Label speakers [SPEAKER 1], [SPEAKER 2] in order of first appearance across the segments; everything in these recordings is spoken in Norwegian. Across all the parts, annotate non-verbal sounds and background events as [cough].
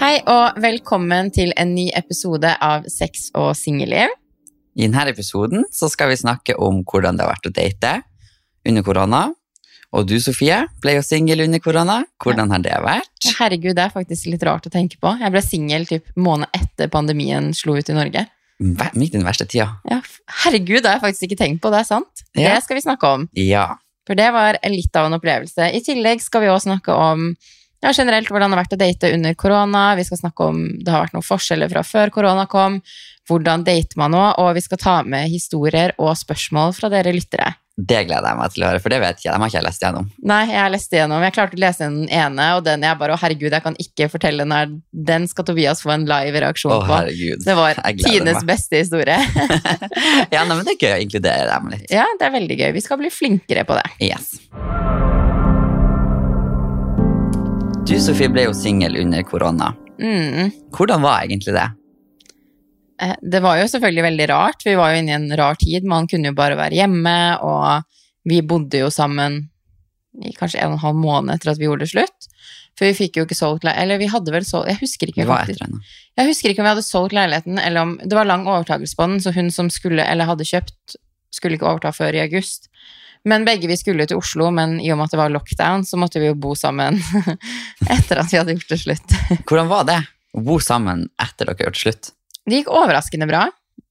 [SPEAKER 1] Hei og velkommen til en ny episode av Sex og singelliv.
[SPEAKER 2] I denne episoden så skal vi snakke om hvordan det har vært å date under korona. Og du, Sofie, ble jo singel under korona. Hvordan har det vært?
[SPEAKER 1] Herregud, det er faktisk litt rart å tenke på. Jeg ble singel typ måned etter pandemien slo ut i Norge.
[SPEAKER 2] Hva- Midt i den verste tida.
[SPEAKER 1] Ja, f- herregud, det har jeg faktisk ikke tenkt på, det er sant.
[SPEAKER 2] Ja.
[SPEAKER 1] Det skal vi snakke om,
[SPEAKER 2] Ja.
[SPEAKER 1] for det var litt av en opplevelse. I tillegg skal vi også snakke om ja, generelt hvordan det har vært å date under korona. Vi skal snakke om det har vært noen forskjeller fra før korona kom, hvordan dater man nå, og vi skal ta med historier og spørsmål fra dere lyttere.
[SPEAKER 2] Det gleder jeg meg til å høre, for det vet jeg. De har ikke jeg lest gjennom.
[SPEAKER 1] Nei, jeg leste gjennom. Jeg klarte å lese den ene, og den jeg bare Å, herregud, jeg kan ikke fortelle når Den skal Tobias få en live reaksjon
[SPEAKER 2] Å,
[SPEAKER 1] på.
[SPEAKER 2] herregud.
[SPEAKER 1] Det var
[SPEAKER 2] Jeg gleder
[SPEAKER 1] tidenes
[SPEAKER 2] meg.
[SPEAKER 1] beste historie. [laughs]
[SPEAKER 2] Ja, nei, men det er gøy å inkludere dem litt.
[SPEAKER 1] ja, det er veldig gøy. Vi skal bli flinkere på det.
[SPEAKER 2] Yes. Du, Sofie, ble jo singel under korona.
[SPEAKER 1] Mm.
[SPEAKER 2] Hvordan var egentlig det?
[SPEAKER 1] Eh, Det var jo selvfølgelig veldig rart. Vi var jo inne i en rar tid. Man kunne jo bare være hjemme, og vi bodde jo sammen i kanskje en og en halv måned etter at vi gjorde det slutt. For vi fikk jo ikke solgt le- Eller vi hadde vel solgt Jeg husker ikke.
[SPEAKER 2] Det var
[SPEAKER 1] faktisk.
[SPEAKER 2] etter henne.
[SPEAKER 1] Jeg husker ikke om vi hadde solgt leiligheten, eller om det var lang overtakelse på den, så hun som skulle, eller hadde kjøpt, skulle ikke overta før i august. Men begge vi skulle til Oslo, men i og med at det var lockdown, så måtte vi jo bo sammen [laughs] etter at vi hadde gjort det slutt.
[SPEAKER 2] Hvordan var det? Å bo sammen etter dere gjorde slutt?
[SPEAKER 1] Det gikk overraskende bra.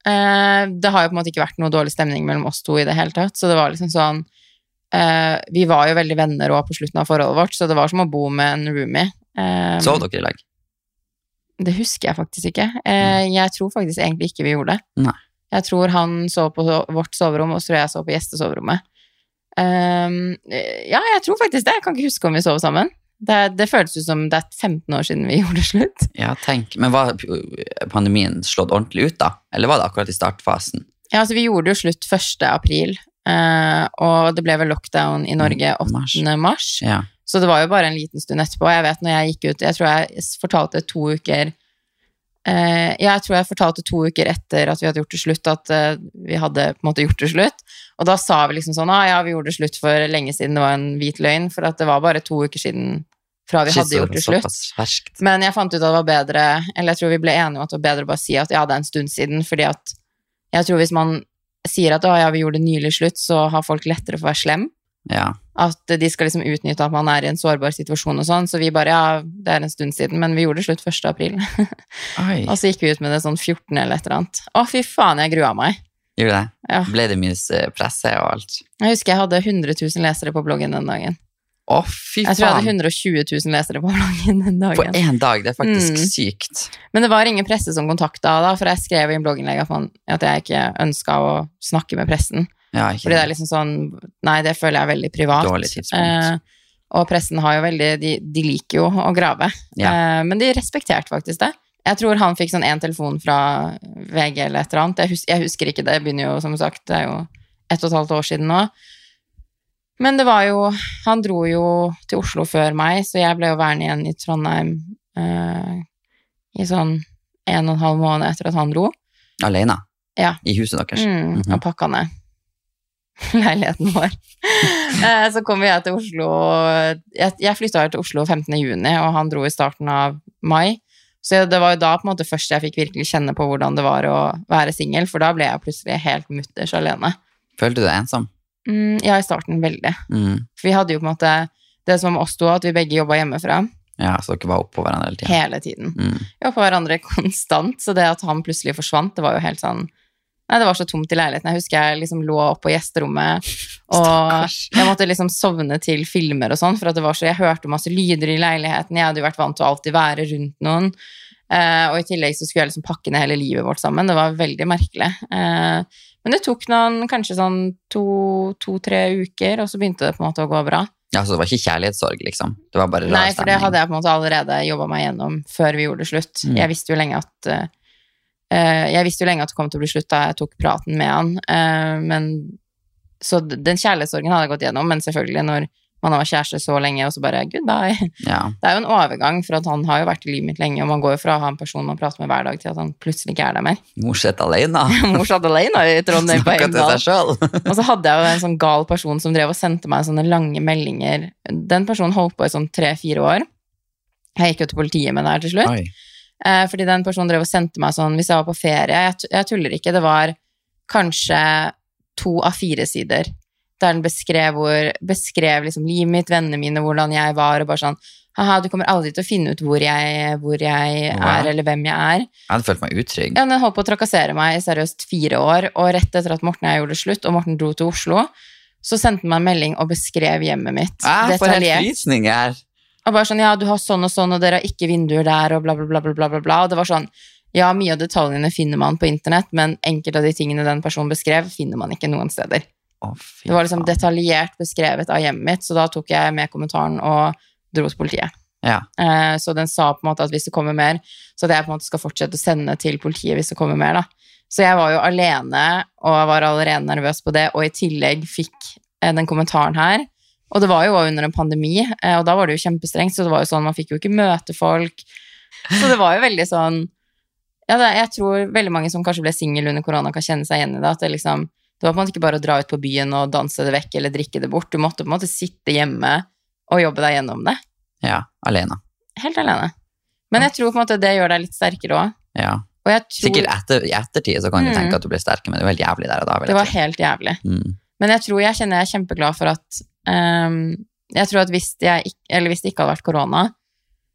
[SPEAKER 1] Eh, Det har jo på en måte ikke vært noe dårlig stemning mellom oss to i det hele tatt, så det var liksom sånn eh, Vi var jo veldig venner òg på slutten av forholdet vårt, så det var som å bo med en roomie. Eh,
[SPEAKER 2] Sov dere i lag?
[SPEAKER 1] Det husker jeg faktisk ikke. Eh, jeg tror faktisk egentlig ikke vi gjorde det.
[SPEAKER 2] Nei.
[SPEAKER 1] Jeg tror han så på so- vårt soverom, og så tror jeg jeg så på gjestesoverommet. Ehm, eh, ja, jeg tror faktisk det. Jeg kan ikke huske om vi sov sammen. Det, det føles ut som det er 15 år siden vi [laughs] gjorde slutt.
[SPEAKER 2] Ja, tenk. Men var pandemien slått ordentlig ut da? Eller var det akkurat i startfasen?
[SPEAKER 1] Ja, altså Vi gjorde jo slutt 1. april, eh, og det ble vel lockdown i Norge
[SPEAKER 2] Mm, mars.
[SPEAKER 1] 8. mars.
[SPEAKER 2] Ja.
[SPEAKER 1] Så det var jo bare en liten stund etterpå. Jeg vet når jeg gikk ut, jeg tror jeg s- fortalte to uker eh, Jeg tror jeg fortalte to uker etter at vi hadde gjort det slutt, at eh, vi hadde på en måte gjort det slutt. Og da sa vi liksom sånn ah, ja, vi gjorde det slutt for lenge siden, det var en hvit løgn. For at det var bare to uker siden fra vi hadde gjort det slutt.
[SPEAKER 2] Såpass ferskt.
[SPEAKER 1] Men jeg fant ut at det var bedre Eller jeg tror vi ble enige om at det var bedre å bare si at ja, det er en stund siden, fordi at jeg tror hvis man sier at å ja, vi gjorde det nylig slutt, så har folk lettere for å være slem
[SPEAKER 2] Ja.
[SPEAKER 1] at de skal liksom utnytte at man er i en sårbar situasjon og sånn, så vi bare, ja, det er en stund siden, men vi gjorde det slutt 1. april. [laughs]
[SPEAKER 2] Oi.
[SPEAKER 1] Og så gikk vi ut med det sånn 14 eller et eller annet. Å, fy faen, jeg grua meg.
[SPEAKER 2] Gjorde det?
[SPEAKER 1] Ja.
[SPEAKER 2] Ble det mye eh, presse og alt?
[SPEAKER 1] Jeg husker jeg hadde 100 000 lesere på bloggen den dagen.
[SPEAKER 2] Å, fy
[SPEAKER 1] Jeg tror jeg hadde
[SPEAKER 2] faen!
[SPEAKER 1] 120 000 lesere på bloggen den
[SPEAKER 2] På
[SPEAKER 1] dagen.
[SPEAKER 2] én dag, det er faktisk
[SPEAKER 1] Mm.
[SPEAKER 2] sykt.
[SPEAKER 1] Men det var ingen presse som kontakta da, for jeg skrev i en blogginnlegg at, man- at jeg ikke ønska å snakke med pressen.
[SPEAKER 2] Ja, ikke
[SPEAKER 1] Fordi det er liksom sånn Nei, det føler jeg er veldig privat.
[SPEAKER 2] Dårlig tidspunkt.
[SPEAKER 1] Eh, og pressen har jo veldig De, de liker jo å grave.
[SPEAKER 2] Ja.
[SPEAKER 1] Eh, men de respekterte faktisk det. Jeg tror han fikk sånn én telefon fra VG eller et eller annet. Jeg, hus jeg husker ikke det. Jeg begynner jo, som sagt, det er jo ett og et halvt år siden nå. Men det var jo Han dro jo til Oslo før meg, så jeg ble jo værende igjen i Trondheim eh, i sånn en og en halv måned etter at han dro.
[SPEAKER 2] Alene?
[SPEAKER 1] liksom- Ja.
[SPEAKER 2] I huset deres?
[SPEAKER 1] Mm,
[SPEAKER 2] Mhm.
[SPEAKER 1] Og pakka ned [laughs] leiligheten vår. [laughs] Eh, så kom jeg til Oslo Jeg, jeg flytta jo til Oslo 15. juni, og han dro i starten av mai. Så det var jo da på en måte først jeg fikk virkelig kjenne på hvordan det var å være singel, for da ble jeg plutselig helt mutters alene.
[SPEAKER 2] Følte du deg ensom?
[SPEAKER 1] Mm, ja, i starten veldig.
[SPEAKER 2] Mm.
[SPEAKER 1] For vi hadde jo på en måte det som om oss to, at vi begge jobba hjemmefra
[SPEAKER 2] Ja, så dere var oppå hverandre hele tida?
[SPEAKER 1] hele tiden.
[SPEAKER 2] Mm.
[SPEAKER 1] Vi var på hverandre konstant, så det at han plutselig forsvant, det var jo helt sånn Nei, det var så tomt i leiligheten. Jeg husker jeg liksom lå oppe på gjesterommet, og
[SPEAKER 2] Stakkars.
[SPEAKER 1] jeg måtte liksom sovne til filmer og sånn, for at det var så Jeg hørte masse lyder i leiligheten, jeg hadde jo vært vant til å alltid være rundt noen. Eh, og i tillegg så skulle jeg liksom pakke ned hele livet vårt sammen. Det var veldig merkelig. Eh, men det tok noen kanskje sånn to-tre uker, og så begynte det på en måte å gå bra.
[SPEAKER 2] Ja, så det var ikke kjærlighetssorg, liksom? Det var bare rar
[SPEAKER 1] Nei, for det
[SPEAKER 2] stemning.
[SPEAKER 1] hadde jeg på en måte allerede jobba meg gjennom før vi gjorde det slutt.
[SPEAKER 2] Mm.
[SPEAKER 1] Jeg visste jo lenge at eh, eh, jeg visste jo lenge at det kom til å bli slutt da jeg tok praten med han. eh, men, så d- den kjærlighetssorgen hadde jeg gått gjennom, men selvfølgelig når man har vært kjæreste så lenge, og så bare goodbye. [laughs]
[SPEAKER 2] Ja.
[SPEAKER 1] Det er jo en overgang, for at han har jo vært i livet mitt lenge, og man går jo fra å ha en person man prater med hver dag, til at han plutselig ikke er der mer. [laughs]
[SPEAKER 2] Mor sitter alene.
[SPEAKER 1] Mor satt alene i Trondheim på
[SPEAKER 2] Snakker til
[SPEAKER 1] Heimdal.
[SPEAKER 2] seg
[SPEAKER 1] [laughs]
[SPEAKER 2] sjøl.
[SPEAKER 1] Og så hadde jeg jo en sånn gal person som drev og sendte meg sånne lange meldinger. Den personen holdt på i sånn tre-fire år. Jeg gikk jo til politiet med det her til slutt. Eh, fordi den personen drev og sendte meg sånn, hvis jeg var på ferie, jeg, tu- jeg tuller ikke, det var kanskje to av fire sider, der den beskrev, hvor, beskrev liksom livet mitt, vennene mine, hvordan jeg var, og bare sånn, haha, du kommer aldri til å finne ut hvor jeg, hvor jeg
[SPEAKER 2] Wow.
[SPEAKER 1] er, eller hvem jeg er.
[SPEAKER 2] Jeg hadde følt meg utrygg.
[SPEAKER 1] Ja, men Den holdt på å trakassere meg i seriøst fire år, og rett etter at Morten og jeg gjorde det slutt, og Morten dro til Oslo, så sendte han meg en melding og beskrev hjemmet mitt
[SPEAKER 2] Jeg får Ah, helt
[SPEAKER 1] detaljert.
[SPEAKER 2] frysninger her.
[SPEAKER 1] Og bare sånn, ja, du har sånn og sånn, og dere har ikke vinduer der, og bla, bla, bla, bla, bla, bla, bla. Og det var sånn, ja, mye av detaljene finner man på internett, men enkelte av de tingene den personen beskrev, finner man ikke noen steder.
[SPEAKER 2] Å, fy
[SPEAKER 1] Det var liksom
[SPEAKER 2] faen.
[SPEAKER 1] detaljert beskrevet av hjemmet mitt, så da tok jeg med kommentaren og dro til politiet.
[SPEAKER 2] Ja.
[SPEAKER 1] Eh, Så den sa på en måte at hvis det kommer mer, så at jeg på en måte skal fortsette å sende til politiet hvis det kommer mer, da. Så jeg var jo alene, og jeg var allerede nervøs på det, og i tillegg fikk eh, den kommentaren her. Og det var jo også under en pandemi, eh, og da var det jo kjempestrengt, så det var jo sånn, man fikk jo ikke møte folk. Så det var jo veldig sånn ja, det, Jeg tror veldig mange som kanskje ble singel under korona, kan kjenne seg igjen i det. At det liksom det var på en måte ikke bare å dra ut på byen og danse det vekk eller drikke det bort. Du måtte på en måte sitte hjemme og jobbe deg gjennom det.
[SPEAKER 2] ja. Alene.
[SPEAKER 1] Helt alene. Men jeg tror på en måte det gjør deg litt sterkere òg.
[SPEAKER 2] Ja.
[SPEAKER 1] Og jeg tror
[SPEAKER 2] Sikkert etter, i ettertid så kan du
[SPEAKER 1] Mm.
[SPEAKER 2] tenke at du ble sterk, men det var helt jævlig der og da. vil
[SPEAKER 1] det
[SPEAKER 2] jeg
[SPEAKER 1] var
[SPEAKER 2] tro.
[SPEAKER 1] helt jævlig.
[SPEAKER 2] Mm.
[SPEAKER 1] Men jeg tror jeg kjenner jeg er kjempeglad for at ehm, Jeg tror at hvis, jeg, ikk- eller hvis det ikke hadde vært korona,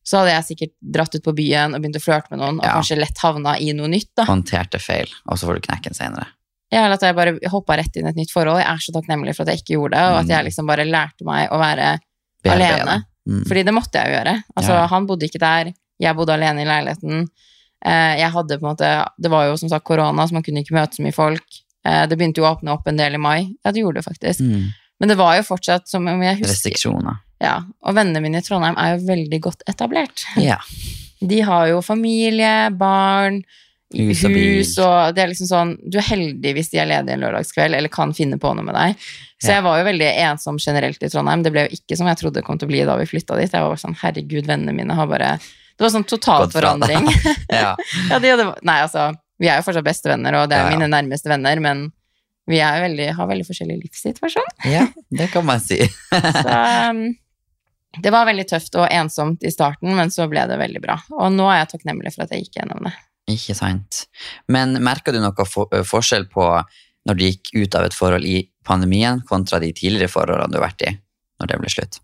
[SPEAKER 1] så hadde jeg sikkert dratt ut på byen og begynt å flørte med noen, og
[SPEAKER 2] Ja.
[SPEAKER 1] kanskje lett havna i noe nytt, da.
[SPEAKER 2] Håndterte feil, og så får du knekken senere.
[SPEAKER 1] Ja, eller at jeg bare hoppa rett inn i et nytt forhold. Jeg er så takknemlig for at jeg ikke gjorde det, og
[SPEAKER 2] Mm.
[SPEAKER 1] at jeg liksom bare lærte meg å være
[SPEAKER 2] Bearbeide.
[SPEAKER 1] alene.
[SPEAKER 2] Mm.
[SPEAKER 1] Fordi det måtte jeg jo gjøre. Altså,
[SPEAKER 2] Ja.
[SPEAKER 1] Han bodde ikke der, jeg bodde alene i leiligheten. Eh, Jeg hadde på en måte, Det var jo som sagt korona, så man kunne ikke møte så mye folk. Eh, Det begynte jo å åpne opp en del i mai. Ja, det gjorde det faktisk.
[SPEAKER 2] Mm.
[SPEAKER 1] Men det var jo fortsatt som om jeg husker
[SPEAKER 2] Restriksjoner.
[SPEAKER 1] ja, Og vennene mine i Trondheim er jo veldig godt etablert.
[SPEAKER 2] Ja.
[SPEAKER 1] De har jo familie, barn,
[SPEAKER 2] Hus
[SPEAKER 1] hus
[SPEAKER 2] og
[SPEAKER 1] og,
[SPEAKER 2] bil.
[SPEAKER 1] det er liksom sånn, Du er heldig hvis de er ledige en lørdagskveld eller kan finne på noe med deg. Så
[SPEAKER 2] Ja.
[SPEAKER 1] jeg var jo veldig ensom generelt i Trondheim. Det ble jo ikke som jeg trodde det kom til å bli da vi flytta dit. Jeg var bare sånn, herregud, vennene mine har bare Det var sånn
[SPEAKER 2] Gått fra deg.
[SPEAKER 1] totalforandring.
[SPEAKER 2] ja.
[SPEAKER 1] ja, de hadde, nei, altså, vi er jo fortsatt bestevenner, og det er
[SPEAKER 2] Ja, ja.
[SPEAKER 1] mine nærmeste venner, men vi er jo veldig, har veldig forskjellig livssituasjon.
[SPEAKER 2] ja, det kan man si.
[SPEAKER 1] Så
[SPEAKER 2] [laughs]
[SPEAKER 1] um, det var veldig tøft og ensomt i starten, men så ble det veldig bra. Og nå er jeg takknemlig for at jeg gikk gjennom det.
[SPEAKER 2] Ikke sant. Men merka du noe for, ø, forskjell på når du gikk ut av et forhold i pandemien, kontra de tidligere forholdene du har vært i, når det ble slutt?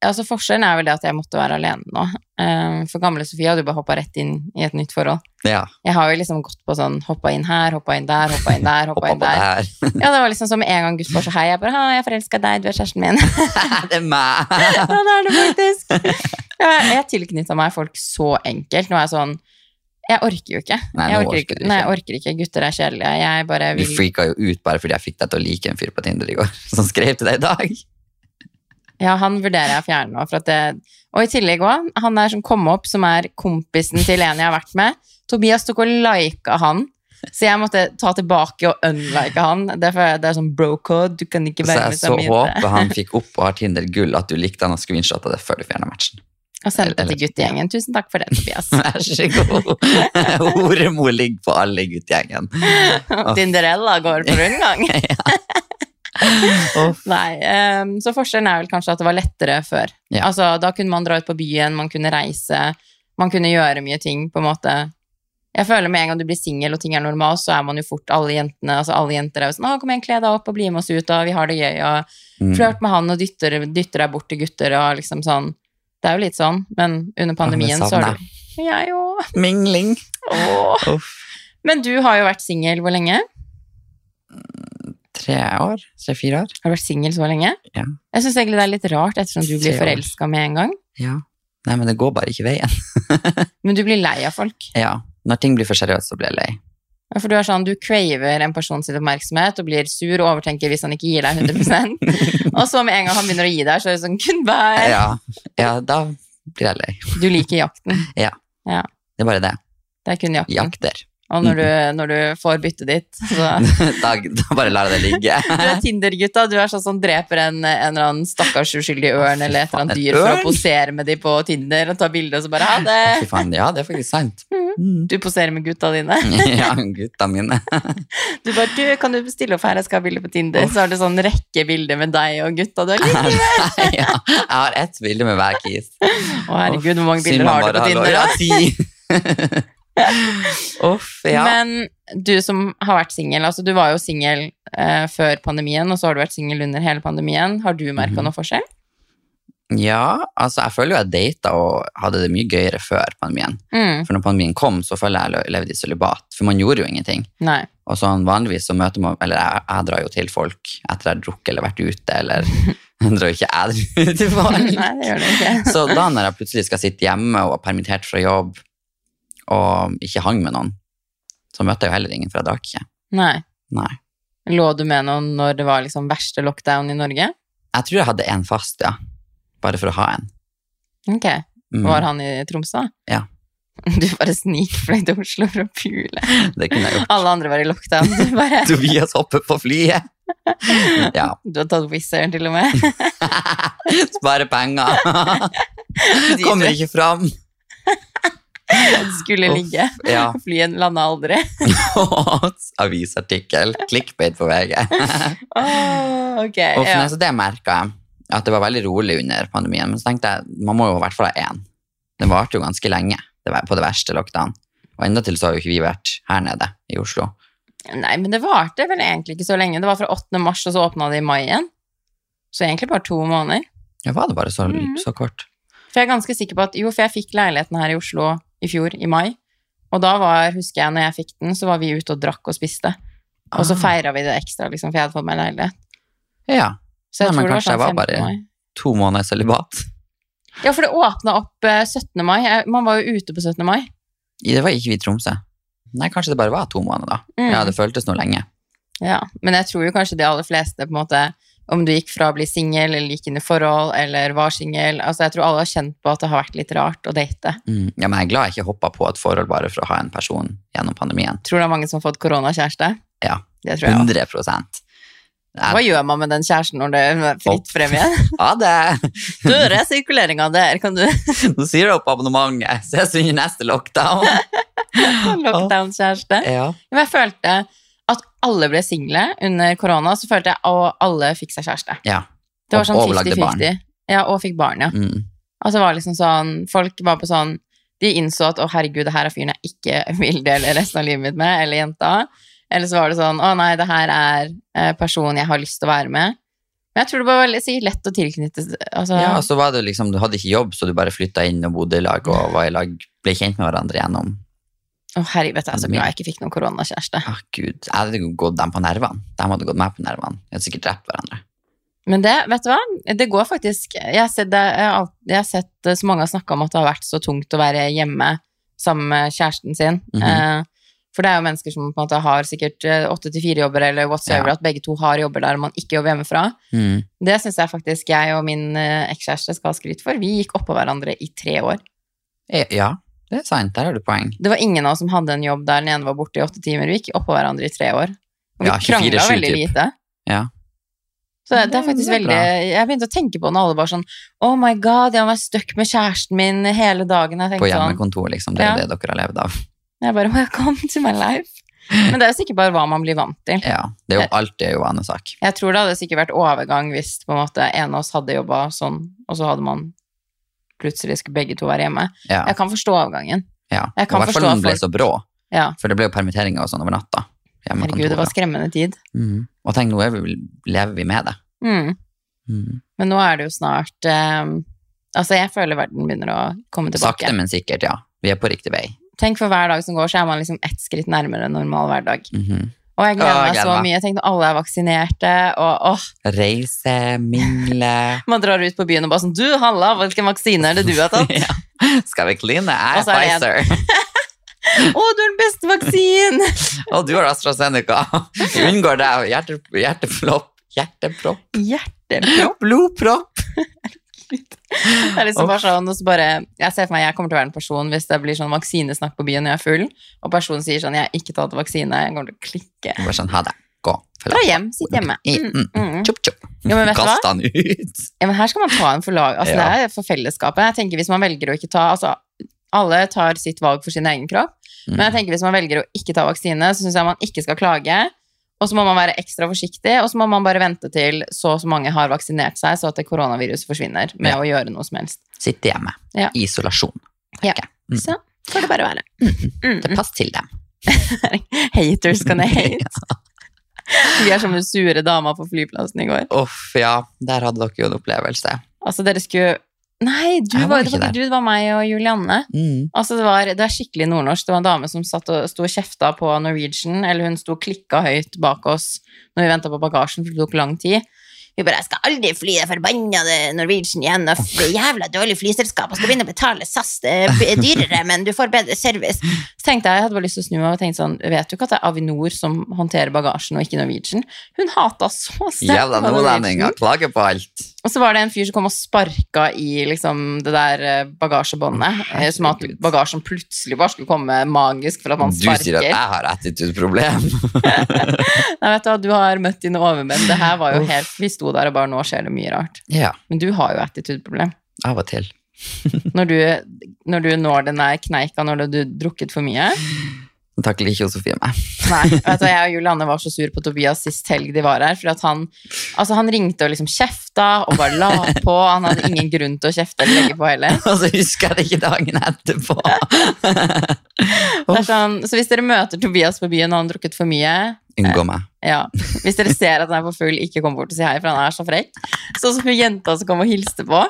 [SPEAKER 1] Ja, altså Forskjellen er vel det at jeg måtte være alene nå. Eh, For gamle Sofie hadde jo bare hoppa rett inn i et nytt forhold.
[SPEAKER 2] Ja,
[SPEAKER 1] Jeg har jo liksom gått på sånn hoppa inn her, hoppa inn der, hoppa inn der. hoppa
[SPEAKER 2] hoppa
[SPEAKER 1] inn
[SPEAKER 2] på det
[SPEAKER 1] der.
[SPEAKER 2] her.
[SPEAKER 1] Ja, det var liksom som en gang Gutt var så hei, jeg bare ha, jeg forelska deg, du er kjæresten min.
[SPEAKER 2] [laughs]
[SPEAKER 1] [laughs]
[SPEAKER 2] det er meg!
[SPEAKER 1] ja, det er det faktisk. Ja, jeg tilknytta meg folk så enkelt. Nå er jeg sånn Jeg orker jo ikke.
[SPEAKER 2] Nei,
[SPEAKER 1] Jeg
[SPEAKER 2] nå
[SPEAKER 1] orker
[SPEAKER 2] orker
[SPEAKER 1] ikke,
[SPEAKER 2] du ikke.
[SPEAKER 1] nei, jeg orker ikke. gutter er kjedelige. Jeg bare
[SPEAKER 2] Vi
[SPEAKER 1] vil
[SPEAKER 2] freaka jo ut bare fordi jeg fikk deg til å like en fyr på Tinder i går, [laughs] som skrev til deg i dag.
[SPEAKER 1] Ja, han vurderer jeg å fjerne nå. For at det, og i tillegg òg, han der som kom opp, som er kompisen til en jeg har vært med. Tobias tok og lika han, så jeg måtte ta tilbake og unlike han. Derfor det er sånn bro-code, du kan ikke
[SPEAKER 2] Så
[SPEAKER 1] være
[SPEAKER 2] jeg
[SPEAKER 1] med
[SPEAKER 2] så
[SPEAKER 1] som mine.
[SPEAKER 2] håper han fikk opp og har Tinder gull at du likte han og screenshotta det før du fjerna matchen. [laughs]
[SPEAKER 1] Og sendte
[SPEAKER 2] Eller-
[SPEAKER 1] til guttegjengen. Tusen takk for det,
[SPEAKER 2] [laughs]
[SPEAKER 1] Tobias.
[SPEAKER 2] Vær så god! [laughs] Horemor ligger på alle i guttegjengen.
[SPEAKER 1] Tinderella går for rundgang.
[SPEAKER 2] Å,
[SPEAKER 1] Nei, ehm, så forskjellen er vel kanskje at det var lettere før.
[SPEAKER 2] Ja.
[SPEAKER 1] Altså, da kunne man dra ut på byen, man kunne reise, man kunne gjøre mye ting, på en måte. Jeg føler med en gang du blir singel og ting er normalt, så er man jo fort alle jentene, altså alle jenter er jo sånn, å, kom igjen, kle deg opp og bli med oss ut, og vi har det gøy, og
[SPEAKER 2] mm.
[SPEAKER 1] flørt med han og dytter, dytter deg bort til gutter, og liksom sånn. Det er jo litt sånn, men under pandemien så
[SPEAKER 2] savner
[SPEAKER 1] har du... Jeg òg.
[SPEAKER 2] Mingling.
[SPEAKER 1] Åh.
[SPEAKER 2] Uff.
[SPEAKER 1] Men du har jo vært singel hvor lenge?
[SPEAKER 2] Tre år? Tre-fire år?
[SPEAKER 1] Har du vært singel så lenge?
[SPEAKER 2] Ja.
[SPEAKER 1] Jeg syns egentlig det er litt rart, ettersom du blir
[SPEAKER 2] Tre år.
[SPEAKER 1] forelska med en gang.
[SPEAKER 2] Ja. Nei, men det går bare ikke veien.
[SPEAKER 1] Men du blir lei av folk.
[SPEAKER 2] Ja. Når ting blir for seriøst, så blir jeg lei.
[SPEAKER 1] Ja, for du er sånn, du craver en person sin oppmerksomhet og blir sur og overtenker hvis han ikke gir deg
[SPEAKER 2] [laughs]
[SPEAKER 1] 100 Og så med en gang han begynner å gi deg, så er det sånn goodbye.
[SPEAKER 2] Ja. ja, da blir jeg lei.
[SPEAKER 1] Du liker jakten.
[SPEAKER 2] Det er bare det.
[SPEAKER 1] Det er kun jakten.
[SPEAKER 2] Jakter. [laughs]
[SPEAKER 1] Og når du, når du får byttet ditt, så
[SPEAKER 2] da, da bare lar jeg det ligge.
[SPEAKER 1] [laughs] Du er Tinder-gutta. Du er sånn som dreper en, en eller annen stakkars uskyldig ørn eller et eller annet
[SPEAKER 2] Faen, et
[SPEAKER 1] dyr for å
[SPEAKER 2] ørn?
[SPEAKER 1] posere med de på Tinder og ta bilde og så bare ha det.
[SPEAKER 2] Fy faen, ja, det er faktisk
[SPEAKER 1] [laughs]
[SPEAKER 2] sant.
[SPEAKER 1] Du poserer med gutta dine.
[SPEAKER 2] [laughs] Ja, gutta mine. [laughs]
[SPEAKER 1] Du bare du, 'Kan du stille opp her, jeg skal ha bilde på Tinder?' Så har du sånn rekke bilder med deg og gutta. Du er
[SPEAKER 2] [laughs]
[SPEAKER 1] litt
[SPEAKER 2] Ja, jeg har ett bilde med hver kis.
[SPEAKER 1] Å herregud, hvor mange
[SPEAKER 2] Sier
[SPEAKER 1] bilder
[SPEAKER 2] man
[SPEAKER 1] har du
[SPEAKER 2] bare
[SPEAKER 1] på
[SPEAKER 2] hallo.
[SPEAKER 1] Tinder? da?
[SPEAKER 2] Ja, ti. [laughs] Uff, ja.
[SPEAKER 1] Men du som har vært singel, altså du var jo singel eh, før pandemien, og så har du vært singel under hele pandemien. Har du merka
[SPEAKER 2] Mhm.
[SPEAKER 1] noe forskjell?
[SPEAKER 2] ja, altså jeg føler jo jeg data og hadde det mye gøyere før pandemien.
[SPEAKER 1] Mm,
[SPEAKER 2] For når pandemien kom, så føler jeg jeg levde i sølibat, for man gjorde jo ingenting. [laughs]
[SPEAKER 1] nei.
[SPEAKER 2] Og sånn vanligvis så møter man, eller jeg, jeg drar jo til folk etter jeg har drukket eller vært ute,
[SPEAKER 1] [laughs]
[SPEAKER 2] eller [laughs] jeg drar jo ikke edru til folk.
[SPEAKER 1] nei, det gjør det ikke.
[SPEAKER 2] Så da når jeg plutselig skal sitte hjemme og er permittert fra jobb, og ikke hang med noen, så møtte jeg jo heller ingen, for jeg drakk ikke.
[SPEAKER 1] Nei.
[SPEAKER 2] Nei.
[SPEAKER 1] Lå du med noen når det var liksom verste lockdown i Norge?
[SPEAKER 2] Jeg tror jeg hadde en fast, ja. Bare for å ha en.
[SPEAKER 1] Ok,
[SPEAKER 2] Mm.
[SPEAKER 1] Var han i Tromsø?
[SPEAKER 2] Ja.
[SPEAKER 1] [laughs] Du bare snikfløy til Oslo for å pule.
[SPEAKER 2] Det kunne jeg gjort.
[SPEAKER 1] Alle andre var i lockdown. Du, bare,
[SPEAKER 2] Tobias hopper på flyet. Ja.
[SPEAKER 1] du har tatt Wizz Air til og med. [laughs]
[SPEAKER 2] Spare penger. Kommer ikke fram. [laughs]
[SPEAKER 1] Skulle
[SPEAKER 2] Uff.
[SPEAKER 1] ligge.
[SPEAKER 2] Ja.
[SPEAKER 1] [laughs] Flyet landa aldri.
[SPEAKER 2] Avisartikkel. Clickbait på VG.
[SPEAKER 1] Åh, ok,
[SPEAKER 2] Uff,
[SPEAKER 1] ja.
[SPEAKER 2] nei, så det merka jeg. At det var veldig rolig under pandemien. Men så tenkte jeg man må jo i hvert fall ha én. Den varte jo ganske lenge det var på det verste lockdown. Og endatil så har jo ikke vi vært her nede i Oslo.
[SPEAKER 1] Nei, men det varte vel egentlig ikke så lenge. Det var fra 8. mars, og så åpna det i mai igjen. Så egentlig bare to måneder.
[SPEAKER 2] Ja, var det bare så,
[SPEAKER 1] Mhm.
[SPEAKER 2] så kort?
[SPEAKER 1] For jeg er ganske sikker på at Jo, for jeg fikk leiligheten her i Oslo i fjor, i mai. Og da var, husker jeg, når jeg fikk den, så var vi ute og drakk og spiste. Og så
[SPEAKER 2] Ah.
[SPEAKER 1] feira vi det ekstra, liksom, for jeg hadde fått meg leilighet.
[SPEAKER 2] Ja.
[SPEAKER 1] Så jeg
[SPEAKER 2] Nei, men
[SPEAKER 1] tror det var
[SPEAKER 2] kanskje
[SPEAKER 1] sånn
[SPEAKER 2] jeg var
[SPEAKER 1] 15.
[SPEAKER 2] bare-
[SPEAKER 1] mai.
[SPEAKER 2] To måneder sølibat.
[SPEAKER 1] Ja, for det åpna opp eh, 17. mai. Jeg- Man var jo ute på 17. mai.
[SPEAKER 2] Det var ikke vi i Tromsø. Nei, kanskje det bare var to måneder, da.
[SPEAKER 1] Mm.
[SPEAKER 2] Ja, det føltes nå lenge.
[SPEAKER 1] Ja, men jeg tror jo kanskje de aller fleste, på en måte, om du gikk fra å bli singel, eller gikk inn i forhold, eller var singel altså Jeg tror alle har kjent på at det har vært litt rart å date.
[SPEAKER 2] Mm. Ja, men jeg er glad jeg ikke hoppa på et forhold bare for å ha en person gjennom pandemien.
[SPEAKER 1] Tror du det er mange som har fått koronakjæreste?
[SPEAKER 2] Ja.
[SPEAKER 1] Det tror jeg også.
[SPEAKER 2] 100
[SPEAKER 1] Hva gjør man med den kjæresten når det er fritt frem
[SPEAKER 2] [laughs]
[SPEAKER 1] igjen?
[SPEAKER 2] Ha det!
[SPEAKER 1] Du, resirkuleringa der,
[SPEAKER 2] [laughs]
[SPEAKER 1] kan du
[SPEAKER 2] Nå sier jeg opp abonnementet. Ses under
[SPEAKER 1] [laughs]
[SPEAKER 2] neste lockdown.
[SPEAKER 1] Lockdown-kjæreste.
[SPEAKER 2] Ja.
[SPEAKER 1] Men jeg følte at alle ble single under korona, så følte jeg at alle fikk seg kjæreste.
[SPEAKER 2] ja.
[SPEAKER 1] Det var sånn
[SPEAKER 2] Og- og lagde barn.
[SPEAKER 1] 50-50. Ja, og fikk barn, ja.
[SPEAKER 2] Mm.
[SPEAKER 1] Altså det var liksom sånn, folk var på sånn, de innså at å herregud, det her er fyren jeg ikke [laughs] vil dele resten av livet mitt med, eller jenta. Eller så var det sånn, å nei, det her er eh, personen jeg har lyst til å være med. Men jeg tror det var veldig sikkert lett å tilknytte, altså,
[SPEAKER 2] ja, og så var det liksom, du hadde ikke jobb, så du bare flytta inn og bodde i lag og var i lag, ble kjent med hverandre gjennom
[SPEAKER 1] å herregud, vet du, jeg er så glad jeg ikke fikk noen koronakjæreste.
[SPEAKER 2] ah, Gud, jeg hadde jo gått dem på nervene. De hadde gått meg på nervene. Vi hadde sikkert drept hverandre.
[SPEAKER 1] Men det, vet du hva, det går faktisk, jeg har sett, det, jeg har alt- jeg har sett eh, så mange har snakket om at det har vært så tungt å være hjemme sammen med kjæresten sin.
[SPEAKER 2] Mhm.
[SPEAKER 1] Eh, For det er jo mennesker som på en måte har sikkert eh, åtte til fire jobber, eller whatsoever,
[SPEAKER 2] Ja.
[SPEAKER 1] at begge to har jobber der man ikke jobber hjemmefra.
[SPEAKER 2] Mm.
[SPEAKER 1] Det synes jeg faktisk jeg og min eh, ekskjæreste skal ha skryt for. Vi gikk oppå hverandre i tre år.
[SPEAKER 2] Ja, det er sant. Der har du poeng.
[SPEAKER 1] Det var ingen av oss som hadde en jobb der den ene var borte i åtte timer. Vi gikk oppå hverandre i tre år. Og vi
[SPEAKER 2] Ja, 24-7
[SPEAKER 1] krangla veldig
[SPEAKER 2] typ.
[SPEAKER 1] lite.
[SPEAKER 2] Ja.
[SPEAKER 1] Så det, det er
[SPEAKER 2] Men det
[SPEAKER 1] faktisk
[SPEAKER 2] er bra.
[SPEAKER 1] veldig Jeg begynte å tenke på det, og alle bare sånn Oh my god, jeg må være stuck med kjæresten min hele dagen. Jeg
[SPEAKER 2] På
[SPEAKER 1] tenkte sånn
[SPEAKER 2] hjemmekontor, liksom. Det er jo
[SPEAKER 1] Ja.
[SPEAKER 2] det dere har levd av.
[SPEAKER 1] Jeg bare Welcome to my life. Men det er jo sikkert bare hva man blir vant til.
[SPEAKER 2] Ja, det er jo alltid er jo vanesak.
[SPEAKER 1] Jeg tror det hadde sikkert vært overgang hvis på en måte en av oss hadde jobba sånn, og så hadde man plutselig skulle begge to være hjemme.
[SPEAKER 2] Ja.
[SPEAKER 1] Jeg kan forstå overgangen.
[SPEAKER 2] Ja.
[SPEAKER 1] Jeg kan
[SPEAKER 2] og I hvert
[SPEAKER 1] forstå
[SPEAKER 2] fall når den ble
[SPEAKER 1] folk-
[SPEAKER 2] så brå.
[SPEAKER 1] Ja.
[SPEAKER 2] For det ble jo permitteringer og sånn over natta.
[SPEAKER 1] Herregud, det var skremmende tid.
[SPEAKER 2] mm. Og tenk, nå er vi, lever vi med det.
[SPEAKER 1] Mm.
[SPEAKER 2] Mm.
[SPEAKER 1] Men nå er det jo snart eh, Altså, jeg føler verden begynner å komme tilbake.
[SPEAKER 2] Sakte, men sikkert, ja. Vi er på riktig vei.
[SPEAKER 1] Tenk for hver dag som går, så er man liksom ett skritt nærmere en normal hverdag.
[SPEAKER 2] Mhm.
[SPEAKER 1] Og jeg gleder
[SPEAKER 2] Å, jeg
[SPEAKER 1] meg så
[SPEAKER 2] gleder meg.
[SPEAKER 1] mye. Tenk når alle er vaksinerte, og åh,
[SPEAKER 2] Reise,
[SPEAKER 1] [laughs]
[SPEAKER 2] mingle
[SPEAKER 1] man drar ut på byen og bare sånn Du, halla, hvilken vaksine er det du har
[SPEAKER 2] [laughs]
[SPEAKER 1] tatt?
[SPEAKER 2] ja. Skal vi kline?
[SPEAKER 1] Og
[SPEAKER 2] Jeg
[SPEAKER 1] så er
[SPEAKER 2] er
[SPEAKER 1] det
[SPEAKER 2] Pfizer.
[SPEAKER 1] [laughs] Å, du har den beste vaksinen!
[SPEAKER 2] Og du har AstraZeneca. Vi unngår deg. Hjerte, hjerteflopp. Hjertepropp.
[SPEAKER 1] Hjertepropp.
[SPEAKER 2] Blodpropp.
[SPEAKER 1] Slutt. Det er liksom bare sånn, og så bare, jeg ser for meg jeg kommer til å være en person hvis det blir sånn vaksinesnakk på byen når jeg er full, og personen sier sånn 'jeg har ikke tatt vaksine', jeg kommer til å klikke.
[SPEAKER 2] Bare sånn, ha det. Gå. Følg
[SPEAKER 1] Dra
[SPEAKER 2] opp.
[SPEAKER 1] hjem. Sitt hjemme. Mm,
[SPEAKER 2] Mm,
[SPEAKER 1] mm, mm.
[SPEAKER 2] Chup, chup.
[SPEAKER 1] Jo, men vet du hva?
[SPEAKER 2] Kast han ut.
[SPEAKER 1] Ja, men her skal man ta en for lag. Altså,
[SPEAKER 2] Ja.
[SPEAKER 1] Det er for fellesskapet. Jeg tenker Hvis man velger å ikke ta altså, Alle tar sitt valg for sin egen kropp, men
[SPEAKER 2] Mm.
[SPEAKER 1] jeg tenker hvis man velger å ikke ta vaksine, så syns jeg man ikke skal klage. Og så må man være ekstra forsiktig, og så må man bare vente til så og så mange har vaksinert seg, så at det koronaviruset forsvinner, med
[SPEAKER 2] Ja.
[SPEAKER 1] å gjøre noe som helst.
[SPEAKER 2] Sitte hjemme.
[SPEAKER 1] Ja.
[SPEAKER 2] I isolasjon.
[SPEAKER 1] Ja.
[SPEAKER 2] tenker jeg. Mm.
[SPEAKER 1] Så får det bare være. Mm.
[SPEAKER 2] Det passer til dem.
[SPEAKER 1] [laughs] Haters gonna
[SPEAKER 2] [laughs]
[SPEAKER 1] hate. Vi er som den sure dama på flyplassen i går.
[SPEAKER 2] Uff, ja. Der hadde dere jo en opplevelse.
[SPEAKER 1] Altså, dere skulle Nei, du var,
[SPEAKER 2] Jeg var
[SPEAKER 1] det
[SPEAKER 2] ikke
[SPEAKER 1] var ikke
[SPEAKER 2] der.
[SPEAKER 1] du, det var meg og Julianne.
[SPEAKER 2] Mm.
[SPEAKER 1] Altså, det, var, det er skikkelig nordnorsk. Det var en dame som satt og sto og kjefta på Norwegian, eller hun sto og klikka høyt bak oss når vi venta på bagasjen, for det tok lang tid. Vi bare 'Jeg skal aldri fly det forbannede Norwegian igjen', og det er jævla dårlig flyselskap, og skal begynne å betale SAS, det er dyrere, men du får bedre service. Så tenkte jeg, jeg hadde bare lyst til å snu meg og tenkte sånn, vet du ikke at det er Avinor som håndterer bagasjen, og ikke Norwegian? Hun hata så sterkt
[SPEAKER 2] Jævla
[SPEAKER 1] på
[SPEAKER 2] nordlendinger. Klager på alt.
[SPEAKER 1] og så var det en fyr som kom og sparka i liksom, det der eh, bagasjebåndet. eh, Som at
[SPEAKER 2] herregud.
[SPEAKER 1] bagasjen plutselig bare skulle komme magisk for at man
[SPEAKER 2] Du sier
[SPEAKER 1] sparker.
[SPEAKER 2] at jeg har attitude-problem. [laughs]
[SPEAKER 1] Nei, vet Du hva, du har møtt dine overmenn. Det her var jo
[SPEAKER 2] Uff.
[SPEAKER 1] helt Vi sto der og bare Nå skjer det mye rart.
[SPEAKER 2] ja,
[SPEAKER 1] Men du har jo attitude-problem.
[SPEAKER 2] av og til.
[SPEAKER 1] Når, du- når du når den der kneika når du har drukket for mye.
[SPEAKER 2] Nå Takler ikke jo Sofie meg.
[SPEAKER 1] Nei, vet du, jeg og Julianne var så sur på Tobias sist helg de var her, for at han, altså, han ringte og liksom kjefta og bare la på. Han hadde ingen grunn til å kjefte eller legge på heller.
[SPEAKER 2] [laughs] Og så husker jeg det ikke dagen etterpå.
[SPEAKER 1] Det er sånn, så hvis dere møter Tobias på byen og han har drukket for mye,
[SPEAKER 2] Unngå meg.
[SPEAKER 1] ja. hvis dere ser at han er for full, ikke kom bort og si hei, for han er så frekk. Sånn som hun jenta som kom og hilste på.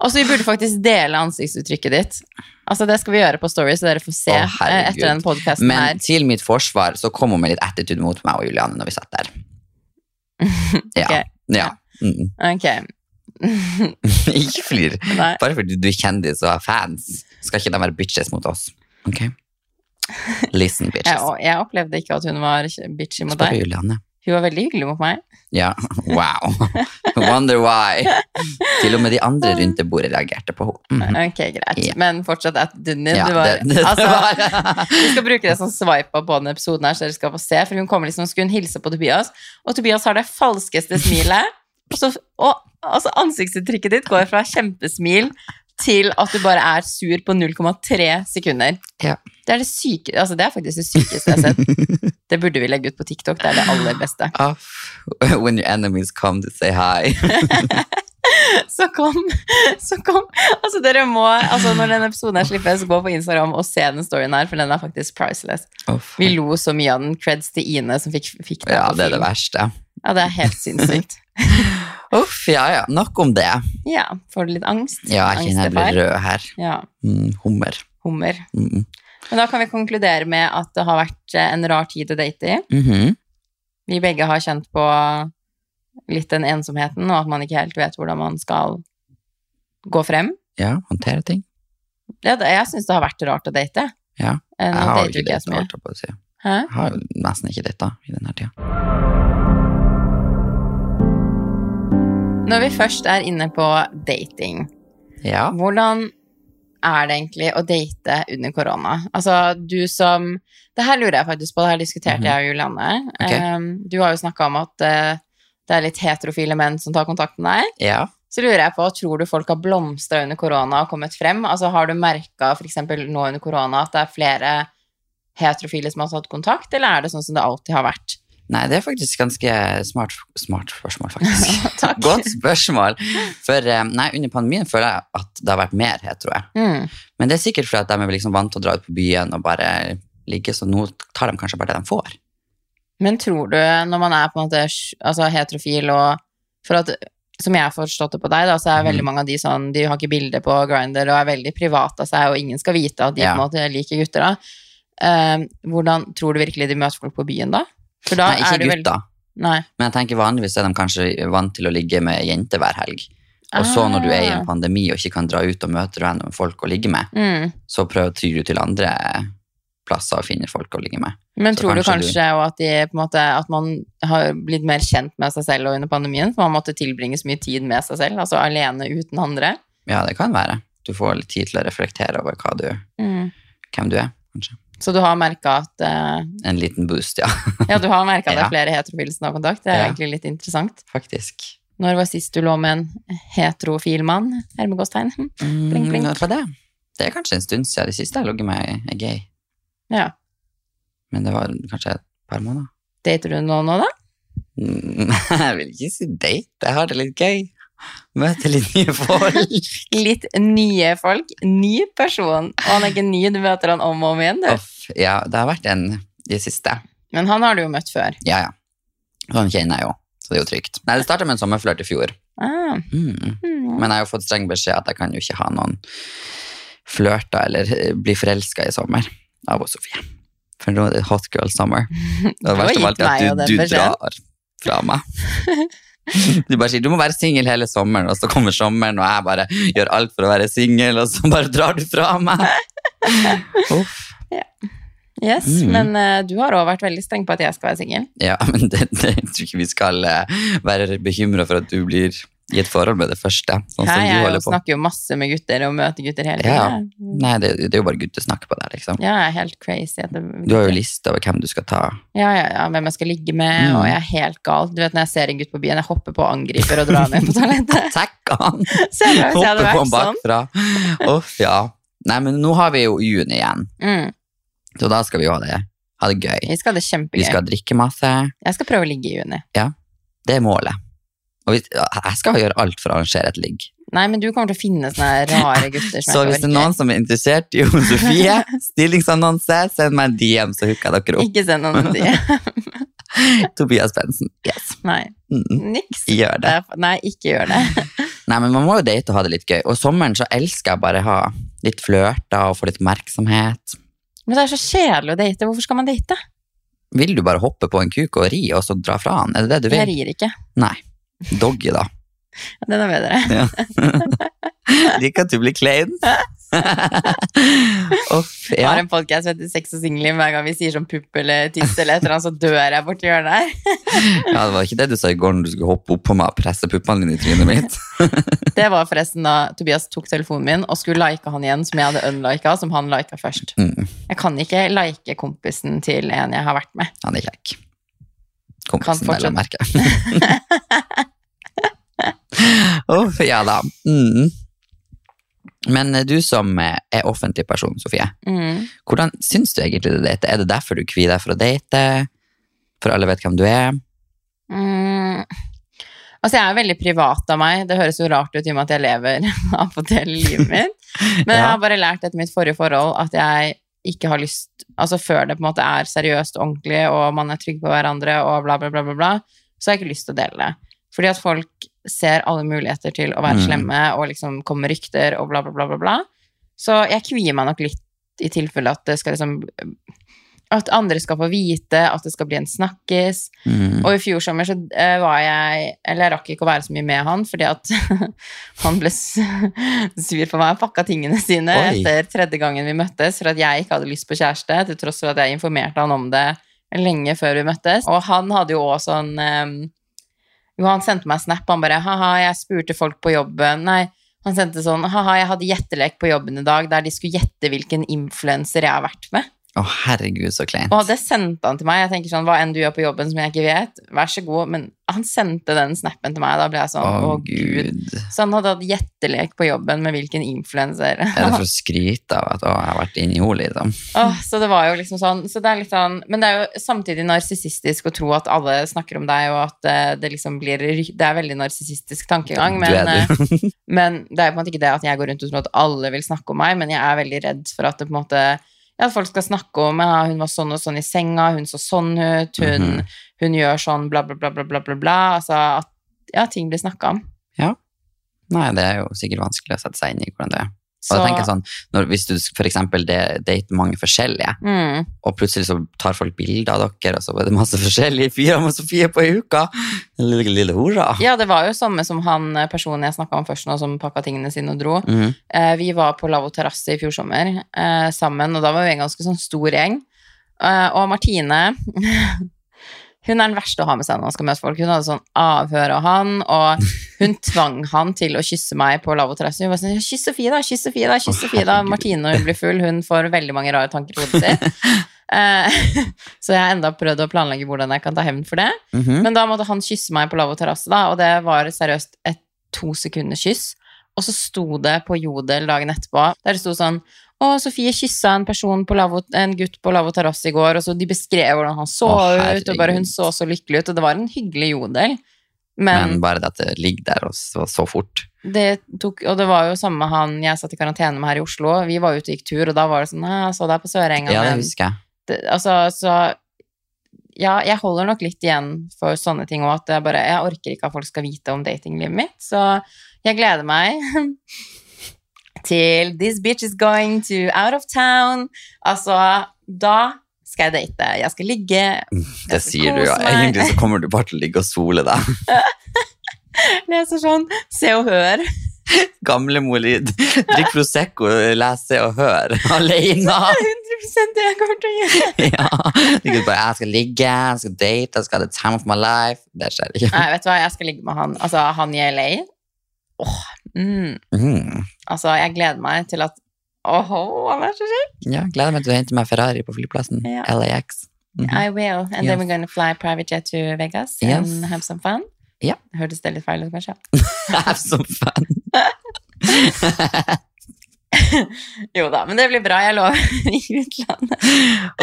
[SPEAKER 1] Og så vi burde faktisk dele ansiktsuttrykket ditt. Altså Det skal vi gjøre på Story, så dere får se
[SPEAKER 2] Å, herregud.
[SPEAKER 1] eh, etter den podkasten
[SPEAKER 2] Men
[SPEAKER 1] her.
[SPEAKER 2] til mitt forsvar så kom hun med litt attitude mot meg og Juliane når vi satt
[SPEAKER 1] [laughs]
[SPEAKER 2] der. Ja.
[SPEAKER 1] Ok.
[SPEAKER 2] ja. Mm. [laughs]
[SPEAKER 1] Ok.
[SPEAKER 2] ikke flir.
[SPEAKER 1] Nei.
[SPEAKER 2] Bare fordi du er kjendis og er fans, skal ikke de være bitches mot oss. Ok? Listen,
[SPEAKER 1] [laughs] Jeg,
[SPEAKER 2] bitches.
[SPEAKER 1] jeg opplevde ikke at hun var bitchy mot
[SPEAKER 2] Spør
[SPEAKER 1] deg.
[SPEAKER 2] Juliane.
[SPEAKER 1] Hun var veldig hyggelig mot meg.
[SPEAKER 2] Ja, [laughs] wow. Wonder why. Til og med de
[SPEAKER 1] [laughs]
[SPEAKER 2] andre rundt det bordet reagerte på henne. Mhm.
[SPEAKER 1] Ok, greit.
[SPEAKER 2] Ja.
[SPEAKER 1] Men fortsatt attituden din.
[SPEAKER 2] Ja,
[SPEAKER 1] du var,
[SPEAKER 2] det, [laughs] det, det
[SPEAKER 1] altså,
[SPEAKER 2] var [laughs]
[SPEAKER 1] Vi skal bruke det som swipe på denne episoden her, så dere skal få se. For hun kommer liksom, skulle hun hilse på Tobias, og Tobias har det falskeste smilet. Og så, og, altså ansiktsuttrykket ditt går fra kjempesmil til at du bare er sur på 0,3 sekunder.
[SPEAKER 2] Ja.
[SPEAKER 1] Det er det syke, altså det er faktisk det sykeste jeg har sett.
[SPEAKER 2] [laughs]
[SPEAKER 1] Det burde vi legge ut på TikTok, det er det aller beste.
[SPEAKER 2] Off. When your enemies come to say
[SPEAKER 1] [laughs]
[SPEAKER 2] hi.
[SPEAKER 1] Så kom, så kom. Altså dere må, altså når denne episoden her slippes, gå på Instagram og se den storyen her, for den er faktisk priceless.
[SPEAKER 2] Off.
[SPEAKER 1] Vi lo så mye av den. Creds til Ine som fikk, fikk den
[SPEAKER 2] Ja,
[SPEAKER 1] på
[SPEAKER 2] det er det
[SPEAKER 1] film.
[SPEAKER 2] verste.
[SPEAKER 1] Ja, det er helt
[SPEAKER 2] [laughs]
[SPEAKER 1] sinnssykt.
[SPEAKER 2] Uff, ja, ja. Nok om det.
[SPEAKER 1] Ja, får du litt angst?
[SPEAKER 2] Ja, jeg kjenner jeg blir
[SPEAKER 1] Angstefeil?
[SPEAKER 2] rød her.
[SPEAKER 1] Ja,
[SPEAKER 2] Mm, hummer.
[SPEAKER 1] hummer.
[SPEAKER 2] Mm.
[SPEAKER 1] Men da kan vi konkludere med at det har vært eh, en rar tid å date i.
[SPEAKER 2] Mhm.
[SPEAKER 1] Vi begge har kjent på litt den ensomheten, og at man ikke helt vet hvordan man skal gå frem.
[SPEAKER 2] Ja, håndtere ting.
[SPEAKER 1] Ja, det, jeg syns det har vært rart å date.
[SPEAKER 2] Ja,
[SPEAKER 1] Eh,
[SPEAKER 2] Jeg
[SPEAKER 1] Nå
[SPEAKER 2] har jo
[SPEAKER 1] dater
[SPEAKER 2] ikke
[SPEAKER 1] jo ikke jeg så
[SPEAKER 2] data,
[SPEAKER 1] mye.
[SPEAKER 2] holdt jeg på å si.
[SPEAKER 1] Hæ?
[SPEAKER 2] Jeg har jo nesten ikke data i denne tida.
[SPEAKER 1] Når vi først er inne på dating,
[SPEAKER 2] Ja.
[SPEAKER 1] hvordan er det egentlig å date under korona? Altså, du som Det her lurer jeg faktisk på, det her diskuterte
[SPEAKER 2] Mhm.
[SPEAKER 1] jeg og Julianne.
[SPEAKER 2] Ok.
[SPEAKER 1] Um, du har jo snakka om at eh, det er litt heterofile menn som tar kontakt med deg.
[SPEAKER 2] ja.
[SPEAKER 1] Så lurer jeg på, tror du folk har blomstra under korona og kommet frem? Altså, har du merka f.eks. nå under korona at det er flere heterofile som har tatt kontakt, eller er det sånn som det alltid har vært?
[SPEAKER 2] Nei, det er faktisk ganske smart, smart spørsmål,
[SPEAKER 1] [laughs]
[SPEAKER 2] faktisk.
[SPEAKER 1] Takk.
[SPEAKER 2] Godt spørsmål. For eh, nei, under pandemien føler jeg at det har vært mer hetero. jeg.
[SPEAKER 1] Mm.
[SPEAKER 2] Men det er sikkert fordi at de er liksom vant til å dra ut på byen og bare ligge, så nå tar de kanskje bare det de får.
[SPEAKER 1] Men tror du, når man er på en måte sj- altså, heterofil og for at, Som jeg har forstått det på deg, da, så er
[SPEAKER 2] Mhm.
[SPEAKER 1] veldig mange av de sånn De har ikke bilder på Grinder og er veldig private av seg, og ingen skal vite at de
[SPEAKER 2] Ja.
[SPEAKER 1] på en måte liker gutter. da. Eh, hvordan Tror du virkelig de møter folk på byen da? For da
[SPEAKER 2] Nei, ikke
[SPEAKER 1] er det
[SPEAKER 2] gutta,
[SPEAKER 1] veldig Nei.
[SPEAKER 2] men jeg tenker vanligvis er de kanskje vant til å ligge med jenter hver helg. Og så når du er i
[SPEAKER 1] Ah.
[SPEAKER 2] en pandemi og ikke kan dra ut og møte random folk å ligge med,
[SPEAKER 1] Mm.
[SPEAKER 2] så prøver tyr du til andre plasser å finne folk å ligge med.
[SPEAKER 1] Men
[SPEAKER 2] Så
[SPEAKER 1] tror du
[SPEAKER 2] kanskje du-
[SPEAKER 1] kanskje også at, de, på en måte, at man har blitt mer kjent med seg selv og under pandemien? For man måtte tilbringe så mye tid med seg selv, altså alene uten andre.
[SPEAKER 2] Ja, det kan være. Du får litt tid til å reflektere over hva du, hvem du er, kanskje.
[SPEAKER 1] Mm. Så du har merka at eh,
[SPEAKER 2] En liten boost, ja, [laughs]
[SPEAKER 1] Ja, du har merka det
[SPEAKER 2] Ja.
[SPEAKER 1] er flere heterofile som har kontakt. Det er
[SPEAKER 2] Ja.
[SPEAKER 1] egentlig litt interessant.
[SPEAKER 2] faktisk.
[SPEAKER 1] Når var sist du lå med en heterofil mann? Hermegåstegn. Hm. Blink, blink.
[SPEAKER 2] Mm, hva er det? det er kanskje en stund siden det siste jeg lå med ei gay.
[SPEAKER 1] Ja.
[SPEAKER 2] Men det var kanskje et par måneder.
[SPEAKER 1] Dater du noen
[SPEAKER 2] [laughs]
[SPEAKER 1] nå, da?
[SPEAKER 2] Mm, [laughs] jeg vil ikke si date, jeg har det litt gøy. Møte litt nye folk.
[SPEAKER 1] Litt nye folk. Ny person. Og han er ikke ny, du møter han om og om igjen, du.
[SPEAKER 2] Uff, ja, det har vært en de siste.
[SPEAKER 1] Men han har du jo møtt før.
[SPEAKER 2] Ja, ja. Sånn kjenner jeg jo, så det er jo trygt. Nei, det startet med en sommerflørt i fjor.
[SPEAKER 1] Ah.
[SPEAKER 2] Mm.
[SPEAKER 1] Mm.
[SPEAKER 2] Men jeg har jo fått streng beskjed at jeg kan jo ikke ha noen flørter eller eh, bli forelska i sommer av hos Sofie. For nå er det hot
[SPEAKER 1] [laughs]
[SPEAKER 2] girl summer. Og det
[SPEAKER 1] Du har
[SPEAKER 2] verste
[SPEAKER 1] gitt
[SPEAKER 2] av alt er
[SPEAKER 1] meg jo den
[SPEAKER 2] at du, du
[SPEAKER 1] beskjeden.
[SPEAKER 2] drar fra meg. Du bare sier du må være singel hele sommeren, og så kommer sommeren, og jeg bare gjør alt for å være singel, og så bare drar du fra meg. Uff.
[SPEAKER 1] Yes,
[SPEAKER 2] Mm.
[SPEAKER 1] men eh, du har òg vært veldig streng på at jeg skal være singel.
[SPEAKER 2] Ja, [laughs] men det, det, jeg tror ikke vi skal eh, være bekymra for at du blir i et forhold med det første. Sånn som
[SPEAKER 1] Her,
[SPEAKER 2] du
[SPEAKER 1] jeg jo
[SPEAKER 2] holder på.
[SPEAKER 1] snakker jo masse med gutter og møter gutter hele
[SPEAKER 2] Ja.
[SPEAKER 1] tiden.
[SPEAKER 2] Nei, det, det er jo bare guttesnakk på det, liksom.
[SPEAKER 1] Ja, jeg er helt crazy. at det-
[SPEAKER 2] Du har jo liste over hvem du skal ta.
[SPEAKER 1] Ja, ja, ja, hvem jeg skal ligge med,
[SPEAKER 2] Mm.
[SPEAKER 1] og jeg er helt gal. Du vet når jeg ser en gutt på byen, jeg hopper på og angriper og drar ned på
[SPEAKER 2] [laughs]
[SPEAKER 1] toalettet. [laughs]
[SPEAKER 2] Takk han!
[SPEAKER 1] Se hvis jeg hadde vært
[SPEAKER 2] Hoppe på han
[SPEAKER 1] sånn.
[SPEAKER 2] bakfra. Uff, ja. Nei, men nå har vi jo juni igjen,
[SPEAKER 1] Mm.
[SPEAKER 2] så da skal vi jo ha det, ha det gøy.
[SPEAKER 1] Vi skal ha det
[SPEAKER 2] Vi
[SPEAKER 1] kjempegøy.
[SPEAKER 2] skal drikke masse.
[SPEAKER 1] Jeg skal prøve å ligge i juni.
[SPEAKER 2] Det er målet. Og hvis, jeg skal gjøre alt for å arrangere et ligg.
[SPEAKER 1] Nei, men du kommer til å finne sånne rare gutter som
[SPEAKER 2] Så
[SPEAKER 1] jeg
[SPEAKER 2] hvis
[SPEAKER 1] ikke
[SPEAKER 2] det er noen som er interessert i Jon Sofie,
[SPEAKER 1] [laughs]
[SPEAKER 2] stillingsannonse, send meg en DM, så hooker jeg dere
[SPEAKER 1] orker.
[SPEAKER 2] opp.
[SPEAKER 1] Ikke send noen til
[SPEAKER 2] Tobias Bensen. Yes.
[SPEAKER 1] [laughs] Nei,
[SPEAKER 2] Mm.
[SPEAKER 1] niks.
[SPEAKER 2] Gjør det.
[SPEAKER 1] Nei, ikke gjør det.
[SPEAKER 2] Nei, men man må jo date og ha det litt gøy. Og sommeren så elsker jeg bare ha litt flørter og få litt oppmerksomhet.
[SPEAKER 1] Men det er så kjedelig å date. Hvorfor skal man date?
[SPEAKER 2] Vil du bare hoppe på en kuk og ri, og så dra fra han? Er det det du
[SPEAKER 1] Jeg
[SPEAKER 2] vil?
[SPEAKER 1] rir ikke.
[SPEAKER 2] Nei. Doggy, da.
[SPEAKER 1] Den er bedre.
[SPEAKER 2] [laughs] Liker at du blir
[SPEAKER 1] [laughs]
[SPEAKER 2] klein. Uff,
[SPEAKER 1] Jeg har
[SPEAKER 2] ja.
[SPEAKER 1] en podcast som heter Sex og singelliv. Hver gang vi sier sånn pupp eller tiss eller et eller annet, så dør jeg borti hjørnet her.
[SPEAKER 2] ja, det var ikke det du sa i går når du skulle hoppe opp på meg og presse puppene dine i trynet
[SPEAKER 1] [laughs]
[SPEAKER 2] mitt.
[SPEAKER 1] Det var forresten da Tobias tok telefonen min og skulle like han igjen, som jeg hadde unlika, som han lika først.
[SPEAKER 2] Mm.
[SPEAKER 1] Jeg kan ikke like kompisen til en jeg har vært med.
[SPEAKER 2] Han er kjekk.
[SPEAKER 1] Kan
[SPEAKER 2] Kompisen,
[SPEAKER 1] fortsette.
[SPEAKER 2] vel å
[SPEAKER 1] [laughs]
[SPEAKER 2] merke. Uff, ja da. Mm. Men eh, du som eh, er offentlig person, Sofie.
[SPEAKER 1] Mm.
[SPEAKER 2] Hvordan syns du egentlig det date? Er det derfor du kvier deg for å date? For alle vet hvem du er?
[SPEAKER 1] Mm. Altså, jeg er veldig privat av meg. Det høres jo rart ut i og med at jeg lever [laughs] av og til i livet mitt.
[SPEAKER 2] [laughs]
[SPEAKER 1] Men jeg
[SPEAKER 2] Ja.
[SPEAKER 1] har bare lært etter mitt forrige forhold at jeg ikke har lyst Altså før det på en måte er seriøst og ordentlig, og man er trygg på hverandre og bla, bla, bla, bla, bla så har jeg ikke lyst til å dele det. Fordi at folk ser alle muligheter til å være
[SPEAKER 2] Mm.
[SPEAKER 1] slemme og liksom komme med rykter og bla, bla, bla, bla, bla. Så jeg kvier meg nok litt i tilfelle at det skal liksom At andre skal få vite, at det skal bli en snakkis.
[SPEAKER 2] Mm.
[SPEAKER 1] Og i fjor sommer så eh, var jeg Eller jeg rakk ikke å være så mye med han, fordi at [laughs] han ble s- [laughs] sur på meg og pakka tingene sine
[SPEAKER 2] Oi.
[SPEAKER 1] etter tredje gangen vi møttes, for at jeg ikke hadde lyst på kjæreste, til tross for at jeg informerte han om det lenge før vi møttes. Og han hadde jo også sånn eh, Jo, han sendte meg snap, han bare Ha-ha, jeg spurte folk på jobben Nei. Han sendte sånn Ha-ha, jeg hadde gjettelek på jobben i dag der de skulle gjette hvilken influenser jeg har vært med.
[SPEAKER 2] Å, herregud, så kleint.
[SPEAKER 1] Og det sendte han til meg. Jeg tenker sånn, Hva enn du gjør på jobben som jeg ikke vet, vær så god. Men han sendte den snappen til meg. Da ble jeg sånn, å, gud. Så han hadde hatt gjettelek på jobben med hvilken influenser.
[SPEAKER 2] Er det for å skryte av at å, jeg har vært inni henne, liksom?
[SPEAKER 1] Åh, så det var jo liksom sånn, så det er litt sånn Men det er jo samtidig narsissistisk å tro at alle snakker om deg, og at eh, det liksom blir ry- Det er veldig narsissistisk tankegang, men,
[SPEAKER 2] Du er
[SPEAKER 1] eh, [laughs] men det er jo på en måte ikke det at jeg går rundt og tror at alle vil snakke om meg, men jeg er veldig redd for at det på en måte ja, at folk skal snakke om ja, 'Hun var sånn og sånn i senga, hun så sånn ut, hun,
[SPEAKER 2] Mhm.
[SPEAKER 1] hun gjør sånn, bla, bla, bla, bla, bla, bla, bla. Altså at ja, ting blir snakka om.
[SPEAKER 2] Nei, det er jo sikkert vanskelig å sette seg inn i hvordan det er. Og
[SPEAKER 1] Så,
[SPEAKER 2] da tenker jeg sånn, når, Hvis du f.eks. dater mange forskjellige,
[SPEAKER 1] mm,
[SPEAKER 2] og plutselig så tar folk bilder av dere, og så er det masse forskjellige fyrer med Sofie på ei uke Lille, lille hora.
[SPEAKER 1] ja, det var jo samme som han eh, personen jeg snakka om først nå, som pakka tingene sine og dro.
[SPEAKER 2] Mhm.
[SPEAKER 1] Eh, vi var på Lavvo terrasse i fjor sommer eh, sammen, og da var vi en ganske sånn stor gjeng. Eh, og Martine [laughs] Hun er den verste å ha med seg når man skal møte folk. Hun hadde sånn avhør av han, og
[SPEAKER 2] [laughs]
[SPEAKER 1] hun tvang han til å kysse meg på Lavvo terrasse. Hun var sånn 'Kyss Sofie, da! Kyss Sofie, da!' kyss
[SPEAKER 2] Å,
[SPEAKER 1] Sofie da
[SPEAKER 2] herregud.
[SPEAKER 1] Martine når hun blir full, hun får veldig mange rare tanker i hodet sitt.
[SPEAKER 2] [laughs]
[SPEAKER 1] Eh, [laughs] så jeg har enda prøvd å planlegge hvordan jeg kan ta hevn for det.
[SPEAKER 2] Mhm.
[SPEAKER 1] Men da måtte han kysse meg på lavvo terrasse, da, og det var seriøst et to sekunders kyss. Og så sto det på Jodel dagen etterpå, der det sto sånn Å, Sofie kyssa en person på lavvo, en gutt på lavvo terrasse i går, og så de beskrev hvordan han så
[SPEAKER 2] Å,
[SPEAKER 1] ut, og bare hun
[SPEAKER 2] herregud.
[SPEAKER 1] så så lykkelig ut, og det var en hyggelig Jodel. Men,
[SPEAKER 2] Men bare det at det ligger der og så, så fort.
[SPEAKER 1] det tok Og det var jo samme han jeg satt i karantene med her i Oslo. Vi var ute og gikk tur, og da var det sånn «Hæ, Jeg så deg på Sørenga.
[SPEAKER 2] Ja, det
[SPEAKER 1] men
[SPEAKER 2] husker jeg.
[SPEAKER 1] det, altså, så ja, jeg holder nok litt igjen for sånne ting òg. At jeg bare Jeg orker ikke at folk skal vite om datinglivet mitt. Så jeg gleder meg [laughs] til This bitch is going to out of town. Altså, da skal jeg date. Jeg skal ligge.
[SPEAKER 2] Det
[SPEAKER 1] Jeg skal
[SPEAKER 2] sier du, ja.
[SPEAKER 1] kose meg.
[SPEAKER 2] Egentlig så kommer du bare til å ligge og sole deg. [laughs]
[SPEAKER 1] Leser sånn Se og Hør. [laughs]
[SPEAKER 2] Gamlemor i- drikk Prosecco, lese og hør [laughs] alene.
[SPEAKER 1] 100 det jeg kommer til å gjøre.
[SPEAKER 2] Ja. Det er bare, jeg skal ligge, jeg skal date, jeg skal ha the time of my life. Det skjer ikke.
[SPEAKER 1] Nei, vet du hva, jeg skal ligge med han. Altså, han i LA. Åh, mm.
[SPEAKER 2] Mm.
[SPEAKER 1] Altså, jeg gleder meg til at Åh, han er så kjekk!
[SPEAKER 2] Ja, gleder meg til å hente meg Ferrari på flyplassen.
[SPEAKER 1] Ja.
[SPEAKER 2] LAX. Mhm. [laughs]
[SPEAKER 1] I will. And then
[SPEAKER 2] Yes.
[SPEAKER 1] we're going to fly private jet to Vegas
[SPEAKER 2] Yes.
[SPEAKER 1] and have some fun.
[SPEAKER 2] Ja.
[SPEAKER 1] Hørtes det litt feil ut, kanskje?
[SPEAKER 2] Have some fun.
[SPEAKER 1] Jo da, men det blir bra. Jeg lover. [laughs] I utlandet,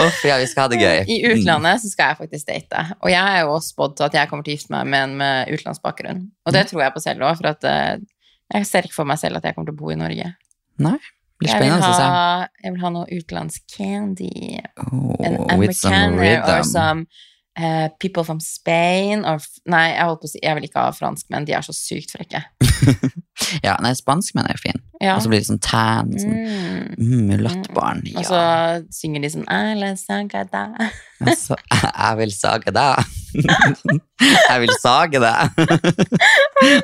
[SPEAKER 2] Uff, ja, vi skal ha det gøy. Mm.
[SPEAKER 1] I utlandet så skal jeg faktisk date. Og jeg er jo også spådd til at jeg kommer til å gifte meg med en med utenlandsbakgrunn. Og
[SPEAKER 2] Mm.
[SPEAKER 1] det tror jeg på selv òg, for at eh, jeg ser ikke for meg selv at jeg kommer til å bo i Norge.
[SPEAKER 2] Mm. Blir
[SPEAKER 1] Jeg vil,
[SPEAKER 2] spennende å se.
[SPEAKER 1] ha, jeg vil ha noe utenlandscandy. En
[SPEAKER 2] Oh, with some
[SPEAKER 1] amerikaner or
[SPEAKER 2] rhythm.
[SPEAKER 1] some eh, people from Spain or f- Nei, jeg holdt på å si Jeg vil ikke ha franskmenn. De er så sykt frekke.
[SPEAKER 2] Ja, nei, spanskmenn er jo fin.
[SPEAKER 1] Ja.
[SPEAKER 2] Og så blir det sånn tan, sånn
[SPEAKER 1] Mm.
[SPEAKER 2] mm, mulattbarn.
[SPEAKER 1] Og så
[SPEAKER 2] Ja.
[SPEAKER 1] synger de sånn «I love Sagada».
[SPEAKER 2] Altså, [laughs] jeg vil sage deg. [laughs] Jeg vil sage deg.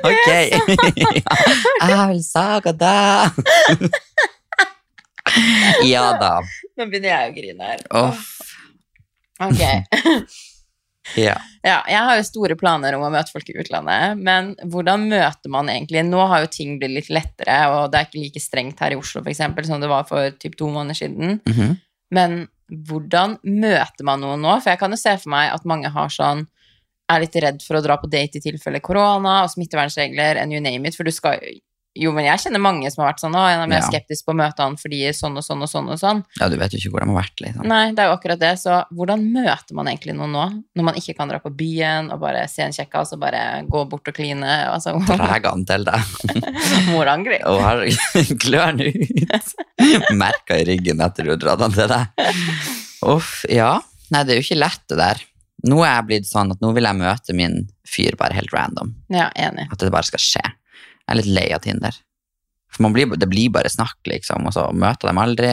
[SPEAKER 2] Ok. [laughs] Ja, Jeg vil sage deg. [laughs] Ja da.
[SPEAKER 1] [laughs] Nå begynner jeg å grine her.
[SPEAKER 2] Uff.
[SPEAKER 1] Ok.
[SPEAKER 2] [laughs] Ja.
[SPEAKER 1] Ja, jeg har jo store planer om å møte folk i utlandet, men hvordan møter man egentlig? Nå har jo ting blitt litt lettere, og det er ikke like strengt her i Oslo for eksempel, som det var for typ to måneder siden.
[SPEAKER 2] Mhm.
[SPEAKER 1] Men hvordan møter man noen nå? For jeg kan jo se for meg at mange har sånn er litt redd for å dra på date i tilfelle korona og smittevernregler and you name it. For du skal jo, men jeg kjenner mange som har vært sånn å, jeg er mer
[SPEAKER 2] Ja.
[SPEAKER 1] skeptisk på å møte han fordi sånn og sånn og sånn og sånn.
[SPEAKER 2] ja, du vet jo ikke hvor de har vært, liksom.
[SPEAKER 1] Nei, det er jo akkurat det. Så hvordan møter man egentlig noen nå? Når man ikke kan dra på byen og bare se en kjekkas og bare gå bort og kline. Altså, [laughs]
[SPEAKER 2] Dreg han til deg.
[SPEAKER 1] morangri.
[SPEAKER 2] Og har [laughs] klørne ut. Merka i ryggen etter du har dratt han til deg. Uff, ja. Nei, det er jo ikke lett det der. Nå er jeg blitt sånn at nå vil jeg møte min fyr bare helt random.
[SPEAKER 1] Ja, enig.
[SPEAKER 2] At det bare skal skje. Jeg er litt lei av Tinder. For man blir, det blir bare snakk, liksom, og så møter dem aldri.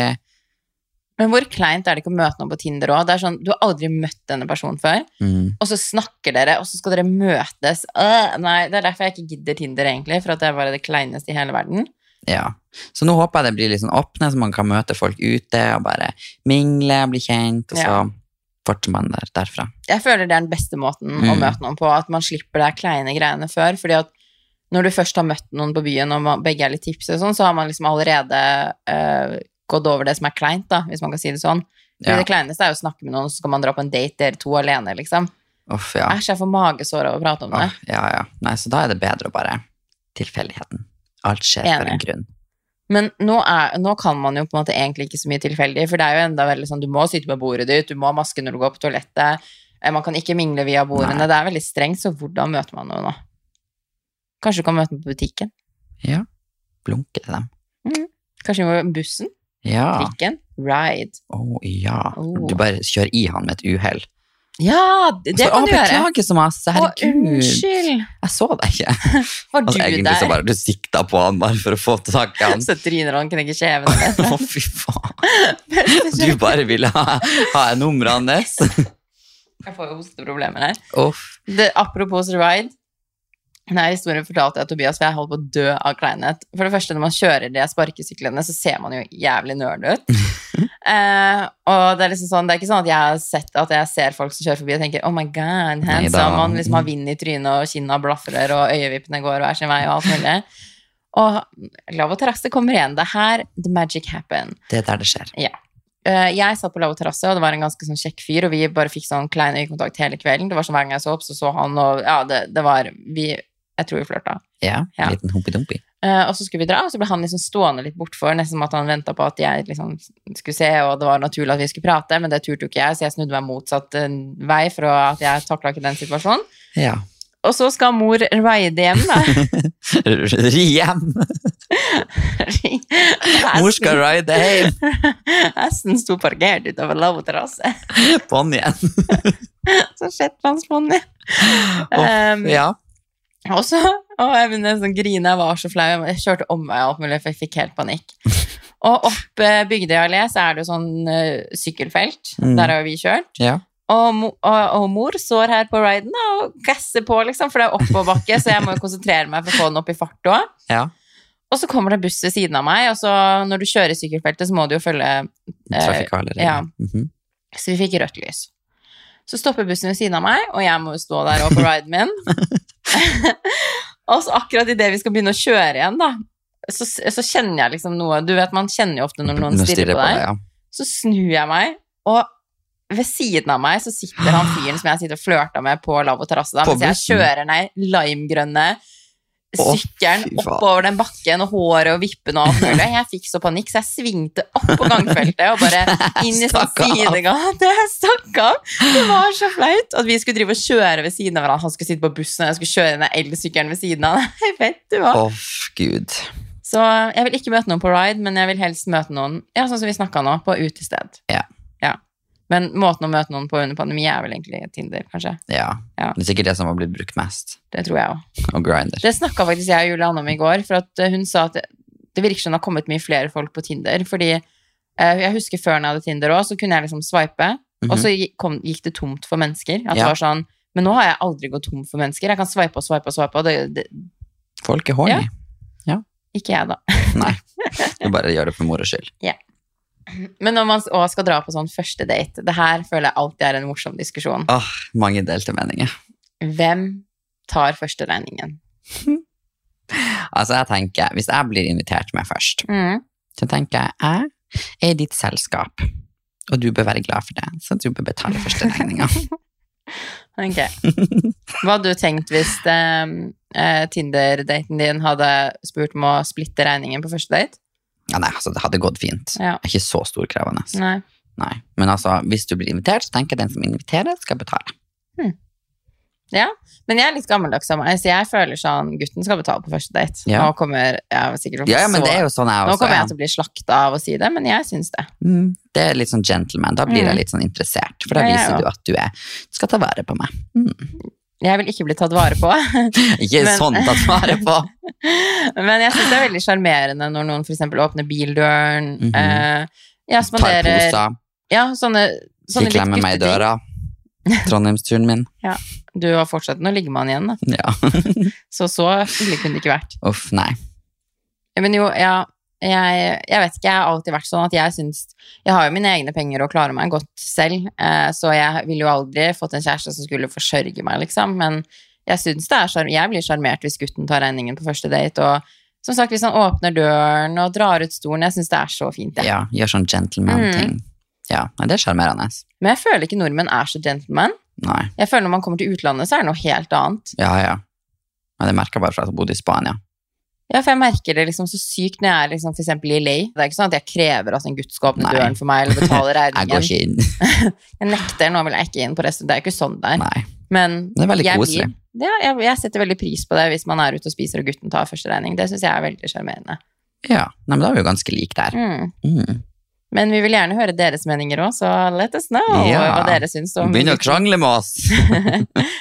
[SPEAKER 1] Men hvor kleint er det ikke å møte noen på Tinder òg? Sånn, du har aldri møtt denne personen før,
[SPEAKER 2] Mm.
[SPEAKER 1] og så snakker dere, og så skal dere møtes. Øh, nei, det er derfor jeg ikke gidder Tinder, egentlig, for at det er bare det kleineste i hele verden.
[SPEAKER 2] Ja. Så nå håper jeg det blir litt sånn åpne, så man kan møte folk ute og bare mingle, bli kjent, og så
[SPEAKER 1] Ja.
[SPEAKER 2] fortsetter man der, derfra.
[SPEAKER 1] Jeg føler det er den beste måten å
[SPEAKER 2] Mm.
[SPEAKER 1] møte noen på, at man slipper de kleine greiene før. fordi at når du først har møtt noen på byen, og man, begge er litt tipset, og sånn, så har man liksom allerede eh, gått over det som er kleint, da, hvis man kan si det sånn. Fordi
[SPEAKER 2] Ja.
[SPEAKER 1] Det kleineste er jo å snakke med noen, så skal man dra på en date dere to alene. liksom.
[SPEAKER 2] Uff, ja.
[SPEAKER 1] Æsj, jeg får magesår av å prate om det.
[SPEAKER 2] Åh, ja, ja. Nei, så da er det bedre å bare tilfeldigheten. Alt skjer for en
[SPEAKER 1] Enig.
[SPEAKER 2] grunn.
[SPEAKER 1] Men nå, er, nå kan man jo på en måte egentlig ikke så mye tilfeldig, for det er jo enda veldig sånn, du må sitte med bordet ditt, du må ha maske når du går på toalettet, eh, man kan ikke mingle via bordene,
[SPEAKER 2] Nei.
[SPEAKER 1] det er veldig strengt, så hvordan møter man noen nå? Kanskje du kan møte den på butikken?
[SPEAKER 2] Ja. Blunke til dem.
[SPEAKER 1] Kanskje på bussen?
[SPEAKER 2] Ja.
[SPEAKER 1] Trikken? Ride?
[SPEAKER 2] Å, ja.
[SPEAKER 1] Oh.
[SPEAKER 2] Du bare kjører i han med et uhell.
[SPEAKER 1] Ja, det
[SPEAKER 2] Så,
[SPEAKER 1] kan
[SPEAKER 2] å,
[SPEAKER 1] du gjøre.
[SPEAKER 2] Beklager så masse.
[SPEAKER 1] Å,
[SPEAKER 2] Herregud,
[SPEAKER 1] unnskyld.
[SPEAKER 2] jeg så deg ikke.
[SPEAKER 1] Var
[SPEAKER 2] Altså,
[SPEAKER 1] du
[SPEAKER 2] egentlig så
[SPEAKER 1] der?
[SPEAKER 2] bare du sikta på han bare for å få tak i han.
[SPEAKER 1] Så tryner han knekker kjeven.
[SPEAKER 2] [laughs] Å, fy faen. [laughs] Du bare ville ha, ha nummeret hans.
[SPEAKER 1] Jeg får jo hosteproblemer her.
[SPEAKER 2] [laughs] Uff.
[SPEAKER 1] Det, apropos Survive. Denne historien fortalte jeg Tobias, for jeg holdt på å dø av kleinhet. For det første, når man kjører de sparkesyklene, så ser man jo jævlig nerd ut. eh, og det er liksom sånn, det er ikke sånn at jeg har sett at jeg ser folk som kjører forbi og tenker oh my god, handsome,
[SPEAKER 2] Neida.
[SPEAKER 1] man liksom har vind i trynet, og kinna blafrer, og øyevippene går hver sin vei, og alt mulig. Og lav og terrasse kommer igjen. Det er her the magic happen.
[SPEAKER 2] Det er der det skjer.
[SPEAKER 1] Eh, jeg satt på lav terrasse, og det var en ganske sånn kjekk fyr, og vi bare fikk sånn klein øyekontakt hele kvelden. Det var sånn hver gang jeg så opp, så så han, og ja, det, det var vi, Jeg tror vi flørta.
[SPEAKER 2] Ja,
[SPEAKER 1] Ja.
[SPEAKER 2] en liten humpidumpi.
[SPEAKER 1] Eh, og så skulle vi dra, og så ble han liksom stående litt bortfor, nesten som at han venta på at jeg liksom skulle se, og det var naturlig at vi skulle prate, men det turte jo ikke jeg, så jeg snudde meg motsatt eh, vei for å- at jeg takla ikke den situasjonen.
[SPEAKER 2] Ja.
[SPEAKER 1] Og så skal mor ride hjem, da.
[SPEAKER 2] [laughs] Ri hjem! [laughs] Mor skal ride hjem!
[SPEAKER 1] Hesten [laughs] sto parkert utover lav terrasse.
[SPEAKER 2] Ponnien.
[SPEAKER 1] Så shetlandsponni. Um,
[SPEAKER 2] Ja.
[SPEAKER 1] Og så å, jeg begynte nesten å sånn grine, jeg var så flau. Jeg kjørte omvei og alt mulig, for jeg fikk helt
[SPEAKER 2] [laughs]
[SPEAKER 1] panikk. Og opp eh, Bygdøy allé så er det jo sånn eh, sykkelfelt.
[SPEAKER 2] Mm.
[SPEAKER 1] Der har jo vi kjørt.
[SPEAKER 2] ja.
[SPEAKER 1] Og, mo og, og mor står her på riden da, og gasser på, liksom, for det er oppoverbakke, så jeg må jo konsentrere meg for å få den opp i fart òg.
[SPEAKER 2] Ja.
[SPEAKER 1] Og så kommer det buss ved siden av meg, og så når du kjører i sykkelfeltet, så må du jo følge eh,
[SPEAKER 2] Trafikale regler.
[SPEAKER 1] ja.
[SPEAKER 2] Mhm.
[SPEAKER 1] så vi fikk rødt lys. Så stopper bussen ved siden av meg, og jeg må jo stå der og på riden min. [laughs] og så akkurat idet vi skal begynne å kjøre igjen, da, så, så kjenner jeg liksom noe Du vet, man kjenner jo ofte når noen
[SPEAKER 2] Nå
[SPEAKER 1] stirrer på deg.
[SPEAKER 2] ja.
[SPEAKER 1] Så snur jeg meg, og ved siden av meg så sitter han fyren som jeg sitter og flørter med på lavvo terrasse, da,
[SPEAKER 2] På
[SPEAKER 1] mens jeg
[SPEAKER 2] bussen?
[SPEAKER 1] kjører ned limegrønne
[SPEAKER 2] Å,
[SPEAKER 1] sykkelen
[SPEAKER 2] fy faen.
[SPEAKER 1] oppover den bakken, og håret og vippene og alt
[SPEAKER 2] [laughs]
[SPEAKER 1] mulig. Jeg fikk så panikk, så jeg svingte opp på gangfeltet og bare inn i sånn
[SPEAKER 2] Stakk av.
[SPEAKER 1] [laughs] sidegate. Jeg stakk av! Det var så flaut at vi skulle drive og kjøre ved siden av hverandre. Han skulle sitte på bussen, og jeg skulle kjøre ned elsykkelen ved siden av. [laughs] Nei, vet du hva.
[SPEAKER 2] Åh, gud.
[SPEAKER 1] Så jeg vil ikke møte noen på ride, men jeg vil helst møte noen ja, sånn som vi snakket nå, på utested.
[SPEAKER 2] Ja.
[SPEAKER 1] Ja. Men måten å møte noen på under pandemi er vel egentlig Tinder, kanskje.
[SPEAKER 2] Ja.
[SPEAKER 1] Ja.
[SPEAKER 2] Det er sikkert det som har blitt brukt mest.
[SPEAKER 1] Det tror jeg også.
[SPEAKER 2] Og grinder.
[SPEAKER 1] Det snakket faktisk jeg og Julianne om i går, for at eh, hun sa at det- det virker som det har kommet mye flere folk på Tinder, fordi eh, jeg husker før når jeg hadde Tinder også, så kunne jeg liksom swipe, og så gi- kom, gikk det tomt for mennesker. At det
[SPEAKER 2] Mhm. Ja.
[SPEAKER 1] var sånn, men nå har jeg aldri gått tom for mennesker. Jeg kan swipe og swipe og swipe, og det, det
[SPEAKER 2] Folk er horny.
[SPEAKER 1] ikke jeg da. [laughs]
[SPEAKER 2] Nei. Du bare gjør det for moro skyld.
[SPEAKER 1] Men når man også skal dra på sånn første date, det her føler jeg alltid er en morsom diskusjon.
[SPEAKER 2] Åh, mange delte meninger.
[SPEAKER 1] Hvem tar første regningen?
[SPEAKER 2] Altså, jeg tenker, hvis jeg blir invitert med først, så tenker jeg, jeg er i ditt selskap, og du bør være glad for det, så du bør betale første
[SPEAKER 1] [laughs]
[SPEAKER 2] regninga.
[SPEAKER 1] Ok. Hva hadde du tenkt hvis eh, eh, Tinder-daten din hadde spurt om å splitte regningen på første date?
[SPEAKER 2] Ja, nei, altså, det hadde gått fint.
[SPEAKER 1] Ja.
[SPEAKER 2] Jeg er ikke så storkrevende.
[SPEAKER 1] Nei.
[SPEAKER 2] Nei. Men altså, hvis du blir invitert, så tenker jeg den som inviterer, skal betale.
[SPEAKER 1] Men jeg er litt gammeldags av meg, så jeg føler sånn gutten skal betale på første date.
[SPEAKER 2] Ja.
[SPEAKER 1] Nå kommer jeg sikkert til å
[SPEAKER 2] Ja, ja, men
[SPEAKER 1] så-
[SPEAKER 2] det er jo sånn jeg
[SPEAKER 1] Nå
[SPEAKER 2] også
[SPEAKER 1] kommer jeg
[SPEAKER 2] er.
[SPEAKER 1] til å bli slakta av å si det, men jeg syns det.
[SPEAKER 2] Mm, Det er litt sånn gentleman. Da blir
[SPEAKER 1] Mm.
[SPEAKER 2] jeg litt sånn interessert, for da
[SPEAKER 1] Ja, jeg
[SPEAKER 2] viser
[SPEAKER 1] også.
[SPEAKER 2] du at du er, skal ta vare på
[SPEAKER 1] [laughs]
[SPEAKER 2] meg. Mm.
[SPEAKER 1] Jeg vil ikke bli tatt vare på. [laughs]
[SPEAKER 2] Ikke
[SPEAKER 1] Men-
[SPEAKER 2] sånn tatt vare på!
[SPEAKER 1] [laughs] Men jeg syns det er veldig sjarmerende når noen f.eks. åpner bildøren.
[SPEAKER 2] Mhm.
[SPEAKER 1] eh, jeg
[SPEAKER 2] Tar
[SPEAKER 1] spanderer
[SPEAKER 2] poser,
[SPEAKER 1] ja, sånne, sånne
[SPEAKER 2] ikke klemme meg i
[SPEAKER 1] gutteting. [laughs]
[SPEAKER 2] døra. Trondheimsturen min.
[SPEAKER 1] Du har fortsatt Nå ligger man igjen, da.
[SPEAKER 2] Ja.
[SPEAKER 1] Så så ille kunne det ikke vært.
[SPEAKER 2] Uff, nei.
[SPEAKER 1] Men jo, ja, jeg, jeg vet ikke, jeg har alltid vært sånn at jeg syns Jeg har jo mine egne penger og klarer meg godt selv, eh, så jeg ville jo aldri fått en kjæreste som skulle forsørge meg, liksom. Men jeg syns det er sjarm- Jeg blir sjarmert hvis gutten tar regningen på første date, og som sagt, hvis han åpner døren og drar ut stolen Jeg syns det er så fint, jeg.
[SPEAKER 2] Ja, gjør sånn
[SPEAKER 1] Mm.
[SPEAKER 2] gentleman-ting. Ja, nei, det er sjarmerende.
[SPEAKER 1] Men jeg føler ikke nordmenn er så gentleman.
[SPEAKER 2] Nei.
[SPEAKER 1] Jeg føler når man kommer til utlandet, så er det noe helt annet.
[SPEAKER 2] Ja, ja. Men det merker jeg bare fra at jeg bodde i Spania.
[SPEAKER 1] Ja, for jeg merker det liksom så sykt når jeg er liksom for eksempel i LA. Det er ikke sånn at jeg krever at en gutt skal åpne
[SPEAKER 2] Nei.
[SPEAKER 1] døren for meg eller betale
[SPEAKER 2] [laughs] Jeg går
[SPEAKER 1] regningen.
[SPEAKER 2] ikke
[SPEAKER 1] [laughs]
[SPEAKER 2] inn.
[SPEAKER 1] Jeg nekter, nå vil jeg ikke inn på resten. Det er jo ikke sånn det er.
[SPEAKER 2] Nei.
[SPEAKER 1] Men
[SPEAKER 2] Det er veldig
[SPEAKER 1] jeg
[SPEAKER 2] koselig.
[SPEAKER 1] blir- Ja, jeg, jeg setter veldig pris på det hvis man er ute og spiser og gutten tar første regning. Det syns jeg er veldig sjarmerende.
[SPEAKER 2] Ja, nei, men da er vi jo ganske like der.
[SPEAKER 1] Mm.
[SPEAKER 2] Mm.
[SPEAKER 1] Men vi vil gjerne høre deres meninger òg, så let us know
[SPEAKER 2] Ja.
[SPEAKER 1] hva dere syns om
[SPEAKER 2] Begynn å krangle
[SPEAKER 1] [laughs]
[SPEAKER 2] med oss!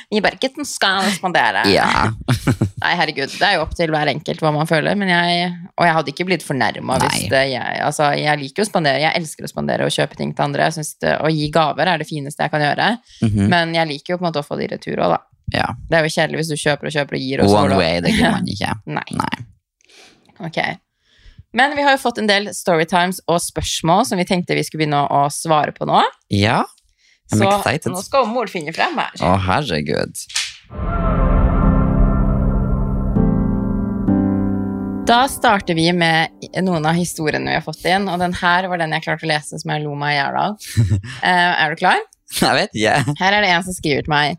[SPEAKER 1] Vi bare ikke den skal respondere.
[SPEAKER 2] Ja.
[SPEAKER 1] Nei, herregud, det er jo opp til hver enkelt hva man føler, men jeg Og jeg hadde ikke blitt fornærma hvis
[SPEAKER 2] Nei.
[SPEAKER 1] det jeg Altså, jeg liker jo å spandere, jeg elsker å spandere og kjøpe ting til andre. Jeg synes det, Å gi gaver er det fineste jeg kan gjøre,
[SPEAKER 2] Mhm.
[SPEAKER 1] men jeg liker jo på en måte å få det i retur òg, da.
[SPEAKER 2] ja.
[SPEAKER 1] Det er jo kjedelig hvis du kjøper og kjøper og gir og så går
[SPEAKER 2] One
[SPEAKER 1] det-
[SPEAKER 2] way, det gir
[SPEAKER 1] [laughs]
[SPEAKER 2] man ikke.
[SPEAKER 1] Nei.
[SPEAKER 2] Nei.
[SPEAKER 1] Ok. Men vi har jo fått en del storytimes og spørsmål som vi tenkte vi skulle begynne å å svare på nå.
[SPEAKER 2] Ja. I'm
[SPEAKER 1] Så
[SPEAKER 2] excited.
[SPEAKER 1] nå skal mor finne frem her.
[SPEAKER 2] Å, herregud.
[SPEAKER 1] Da starter vi med noen av historiene vi har fått inn, og den her var den jeg klarte å lese som jeg lo meg i hjel av. Eh, er du klar?
[SPEAKER 2] Jeg vet ikke.
[SPEAKER 1] Her er det en som skriver til meg.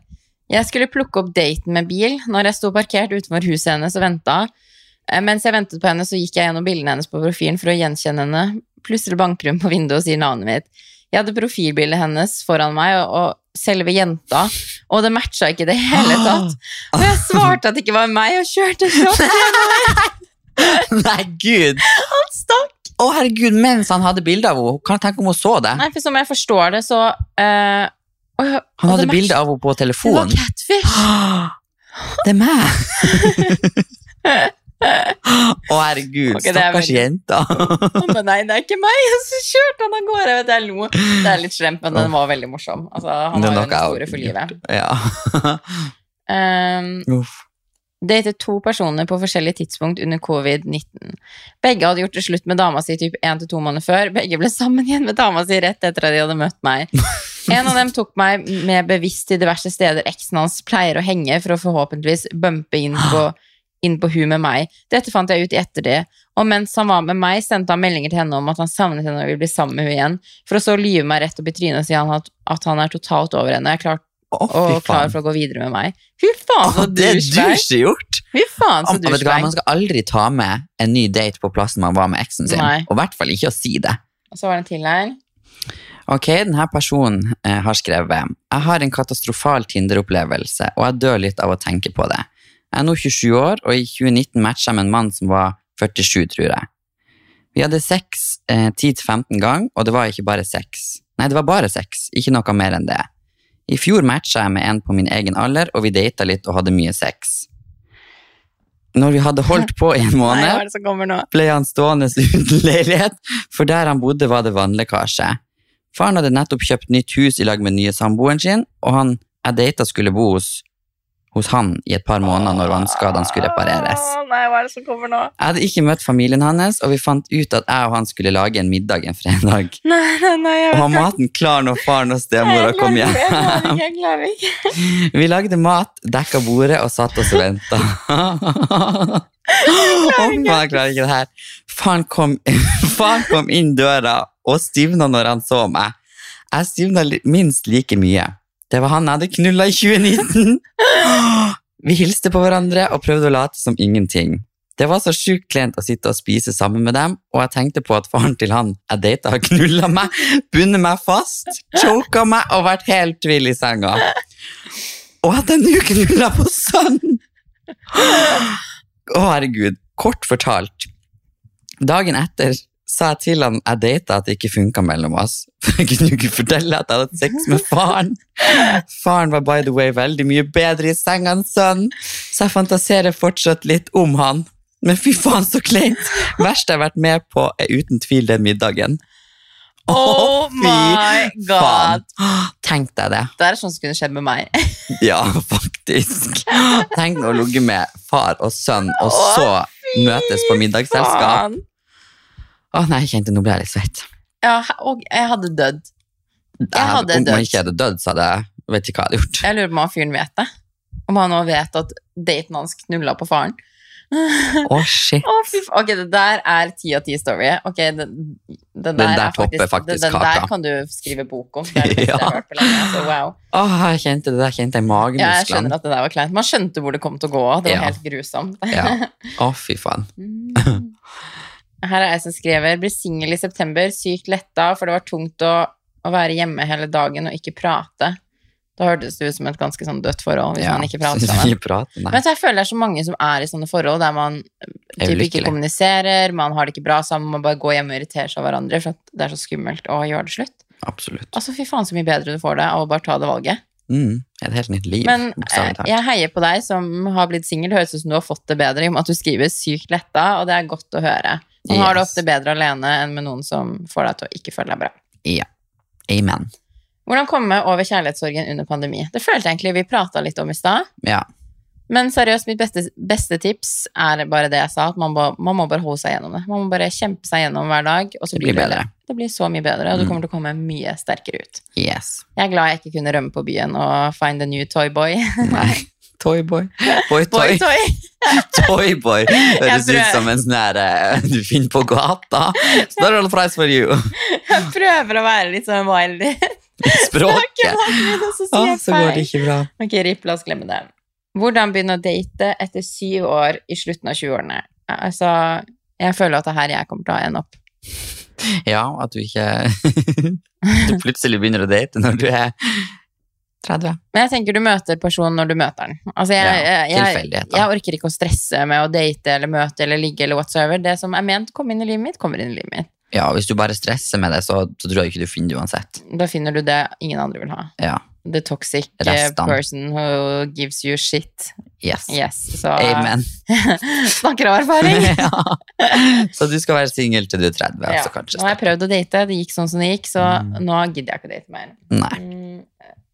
[SPEAKER 1] Jeg skulle plukke opp daten med bil når jeg sto parkert utenfor huset hennes og venta. Eh, Mens jeg ventet på henne, så gikk jeg gjennom bildene hennes på profilen for å gjenkjenne henne. Plutselig banker hun på vinduet og sier navnet mitt. Jeg hadde profilbildet hennes foran meg, og, og selve jenta, og det matcha ikke i det hele
[SPEAKER 2] Ah.
[SPEAKER 1] tatt. Og jeg svarte at det ikke var meg, og kjørte sånn.
[SPEAKER 2] [laughs] Nei, gud.
[SPEAKER 1] Stopp!
[SPEAKER 2] Å, herregud, mens han hadde bilde av henne. Kan jeg tenke om hun så det?
[SPEAKER 1] Nei, for som jeg forstår det, så eh, og,
[SPEAKER 2] Han hadde bilde av henne på
[SPEAKER 1] Det var
[SPEAKER 2] telefonen. [laughs]
[SPEAKER 1] catfish!
[SPEAKER 2] [gasps] Det er
[SPEAKER 1] [laughs]
[SPEAKER 2] meg! [gasps] Å, herregud,
[SPEAKER 1] Ok, det er
[SPEAKER 2] stakkars jenta.
[SPEAKER 1] Han ba, nei, det er ikke meg! Og så kjørte han av gårde. Jeg Vet, jeg lo. Det er litt slemt, men den var veldig morsom. Altså, han
[SPEAKER 2] Det
[SPEAKER 1] har jo
[SPEAKER 2] er noe
[SPEAKER 1] en
[SPEAKER 2] jeg har
[SPEAKER 1] historie for
[SPEAKER 2] gjort.
[SPEAKER 1] livet.
[SPEAKER 2] Ja.
[SPEAKER 1] Um,
[SPEAKER 2] Uff.
[SPEAKER 1] datet to personer på forskjellige tidspunkt under covid-19. Begge hadde gjort det slutt med dama si typ én til to måneder før. Begge ble sammen igjen med dama si rett etter at de hadde møtt
[SPEAKER 2] [laughs]
[SPEAKER 1] meg. En av dem tok meg med bevisst til diverse steder eksen hans pleier å henge for å forhåpentligvis bumpe inn på inn på hun med meg. Dette fant jeg ut i ettertid. Og mens han var med meg, sendte han meldinger til henne om at han savnet henne og ville bli sammen med henne igjen, for å så lyve meg rett opp i trynet og si han at, at han er totalt over henne og er klar,
[SPEAKER 2] Å, fy
[SPEAKER 1] og klar
[SPEAKER 2] faen.
[SPEAKER 1] for å gå videre med meg. Fy faen,
[SPEAKER 2] Å,
[SPEAKER 1] så
[SPEAKER 2] det er
[SPEAKER 1] douchebag!
[SPEAKER 2] douche gjort!
[SPEAKER 1] Fy faen, så
[SPEAKER 2] Am- Vet du hva, Man
[SPEAKER 1] douchebag.
[SPEAKER 2] skal aldri ta med en ny date på plassen man var med eksen sin.
[SPEAKER 1] Nei.
[SPEAKER 2] Og i hvert fall ikke å si det.
[SPEAKER 1] Og så var det en til her.
[SPEAKER 2] Ok, denne personen eh, har skrevet Jeg har en katastrofal Tinder-opplevelse, og jeg dør litt av å tenke på det. Jeg er nå 27 år, og i 2019 matcha jeg med en mann som var 47, tror jeg. Vi hadde sex eh, 10-15 gang, og det var ikke bare sex. Nei, det var bare sex, ikke noe mer enn det. I fjor matcha jeg med en på min egen alder, og vi data litt og hadde mye sex. Når vi hadde holdt på i en
[SPEAKER 1] Nei,
[SPEAKER 2] måned
[SPEAKER 1] hva er det som kommer nå?
[SPEAKER 2] ble han stående [laughs] uten leilighet, for der han bodde var det vannlekkasje. Faren hadde nettopp kjøpt nytt hus i lag med den nye samboeren sin, og han jeg data skulle bo hos, hos han i et par måneder når vannskadene skulle repareres.
[SPEAKER 1] Åh, Nei, hva er det som kommer nå?
[SPEAKER 2] Jeg hadde ikke møtt familien hans, og vi fant ut at jeg og han skulle lage en middag en fredag.
[SPEAKER 1] Nei, nei, nei, jeg vet
[SPEAKER 2] Og ha maten klar når faren og
[SPEAKER 1] Nei,
[SPEAKER 2] stemora
[SPEAKER 1] jeg
[SPEAKER 2] kom
[SPEAKER 1] klarer
[SPEAKER 2] hjem.
[SPEAKER 1] ikke, Jeg klarer ikke, jeg klarer ikke.
[SPEAKER 2] Vi lagde mat, dekka bordet og satt oss og venta. jeg klarer ikke det her. Faren kom, [laughs] faren kom inn døra og stivna når han så meg. Jeg stivna li- minst like mye. Det var han jeg hadde knulla i 2019. [gasps] Vi hilste på hverandre og prøvde å late som ingenting. Det var så sjukt klent å sitte og spise sammen med dem, og jeg tenkte på at faren til han jeg data, har knulla meg, bundet meg fast, choka meg og vært helt vill i senga. Og at jeg nå knulla på sønnen! Å, herregud. Kort fortalt. Dagen etter sa jeg til han jeg data at det ikke funka mellom oss. [laughs] For jeg kunne jo ikke fortelle at jeg hadde hatt sex med faren. Faren var by the way veldig mye bedre i senga enn sønnen, så jeg fantaserer fortsatt litt om han. Men fy faen, så kleint! Verst jeg har vært med på, er uten tvil den middagen. [laughs] Å,
[SPEAKER 1] Oh
[SPEAKER 2] fy
[SPEAKER 1] my god.
[SPEAKER 2] faen. Tenk deg det.
[SPEAKER 1] Det er sånn som kunne skjedd med meg.
[SPEAKER 2] Ja, faktisk. Tenk å ligge med far og sønn, og så møtes på middagsselskap.
[SPEAKER 1] Faen.
[SPEAKER 2] Å nei, jeg kjente nå ble jeg litt svett.
[SPEAKER 1] Ja, og jeg hadde dødd. Jeg hadde
[SPEAKER 2] Om
[SPEAKER 1] dødd.
[SPEAKER 2] man ikke hadde dødd, så hadde jeg vet ikke hva jeg hadde gjort.
[SPEAKER 1] Jeg lurer på om han fyren vet det. Om han nå vet at daten hans knulla på faren.
[SPEAKER 2] Å, shit.
[SPEAKER 1] Å, fy f- Ok, det der er ti av ti story. Ok, den, den der,
[SPEAKER 2] der
[SPEAKER 1] er faktisk,
[SPEAKER 2] topper
[SPEAKER 1] den,
[SPEAKER 2] faktisk
[SPEAKER 1] den
[SPEAKER 2] kaka.
[SPEAKER 1] der kan du skrive bok om. Det er det beste jeg har
[SPEAKER 2] [laughs] Ja.
[SPEAKER 1] hørt på lenge. Altså, wow.
[SPEAKER 2] Å, jeg kjente det der, kjente jeg
[SPEAKER 1] Ja, jeg
[SPEAKER 2] magemusklene.
[SPEAKER 1] skjønner at det der var kleint. Man skjønte hvor det kom til å gå. Det var
[SPEAKER 2] Ja.
[SPEAKER 1] helt grusomt.
[SPEAKER 2] Ja. Å, fy faen.
[SPEAKER 1] Mm. Her er jeg som skriver Ble singel i september, sykt letta, for det var tungt å, å være hjemme hele dagen og ikke prate. Da hørtes det ut som et ganske sånn dødt forhold hvis
[SPEAKER 2] [laughs] Ja,
[SPEAKER 1] man ikke prater
[SPEAKER 2] så
[SPEAKER 1] sammen.
[SPEAKER 2] vi prater, nei.
[SPEAKER 1] Men så jeg føler det er så mange som er i sånne forhold der man
[SPEAKER 2] Er
[SPEAKER 1] typ ikke
[SPEAKER 2] ulykkelig.
[SPEAKER 1] kommuniserer, man har det ikke bra sammen, man bare går hjem og irriterer seg av hverandre for at det er så skummelt å gjøre det slutt.
[SPEAKER 2] Absolutt.
[SPEAKER 1] Altså, fy faen så mye bedre du får det av å bare ta det valget.
[SPEAKER 2] Mm, et helt nytt liv,
[SPEAKER 1] Men eh,
[SPEAKER 2] bokstavelig talt.
[SPEAKER 1] jeg heier på deg som har blitt singel. Høres ut som du har fått det bedre i og med at du skriver sykt letta, og det er godt å høre. Man har det
[SPEAKER 2] Yes.
[SPEAKER 1] ofte bedre alene enn med noen som får deg til å ikke føle deg bra.
[SPEAKER 2] Amen.
[SPEAKER 1] Hvordan komme over kjærlighetssorgen under pandemi? Det følte jeg egentlig vi prata litt om i stad.
[SPEAKER 2] Ja.
[SPEAKER 1] Men seriøst, mitt beste, beste tips er bare det jeg sa, at man, må- man må bare holde seg gjennom det. Man må bare kjempe seg gjennom hver dag, og så
[SPEAKER 2] Det
[SPEAKER 1] blir
[SPEAKER 2] blir
[SPEAKER 1] det
[SPEAKER 2] bedre.
[SPEAKER 1] Det blir så mye bedre, og du
[SPEAKER 2] Mm.
[SPEAKER 1] kommer til å komme mye sterkere ut. [laughs]
[SPEAKER 2] Yes.
[SPEAKER 1] Jeg er glad jeg ikke kunne rømme på byen og find a new [laughs] toyboy.
[SPEAKER 2] Nei.
[SPEAKER 1] [laughs]
[SPEAKER 2] Toyboy. Boy, toy.
[SPEAKER 1] Boy-toy!
[SPEAKER 2] Toyboy. Høres
[SPEAKER 1] tror jeg-
[SPEAKER 2] ut som en sånn her eh, du finner på gata. Så da er det all price for
[SPEAKER 1] [laughs]
[SPEAKER 2] you.
[SPEAKER 1] Jeg [laughs] prøver å være litt sånn wildy.
[SPEAKER 2] I
[SPEAKER 1] Ikke
[SPEAKER 2] språket.
[SPEAKER 1] vanlig, og så
[SPEAKER 2] Å,
[SPEAKER 1] sier jeg
[SPEAKER 2] så går
[SPEAKER 1] feil.
[SPEAKER 2] det ikke bra.
[SPEAKER 1] Ok, Rip, la oss glemme det. Hvordan begynne å date etter syv år i slutten av 20-årene? Altså, jeg føler at det er her jeg kommer til å ende opp.
[SPEAKER 2] Ja, at du ikke [laughs] Du plutselig begynner å date når du er 30.
[SPEAKER 1] Men jeg tenker du møter personen når du møter den. Altså, jeg, jeg,
[SPEAKER 2] Ja,
[SPEAKER 1] jeg,
[SPEAKER 2] tilfeldighet, da.
[SPEAKER 1] jeg orker ikke å stresse med å date eller møte eller ligge eller whatsoever. Det som er ment kommer inn i livet mitt, kommer inn i livet mitt.
[SPEAKER 2] Ja, hvis du bare stresser med det, så, så tror jeg ikke du finner det uansett.
[SPEAKER 1] Da finner du det ingen andre vil ha.
[SPEAKER 2] Ja.
[SPEAKER 1] The toxic eh,
[SPEAKER 2] Restene.
[SPEAKER 1] person who gives you shit.
[SPEAKER 2] Yes.
[SPEAKER 1] Yes, så
[SPEAKER 2] Amen.
[SPEAKER 1] [laughs] snakker av erfaring.
[SPEAKER 2] [laughs] ja. Så du skal være singel til du er 30,
[SPEAKER 1] Ja.
[SPEAKER 2] altså kanskje.
[SPEAKER 1] Nå har jeg prøvd å date, det gikk sånn som det gikk, så
[SPEAKER 2] Mm.
[SPEAKER 1] nå gidder jeg ikke å date mer.
[SPEAKER 2] Nei.
[SPEAKER 1] Mm,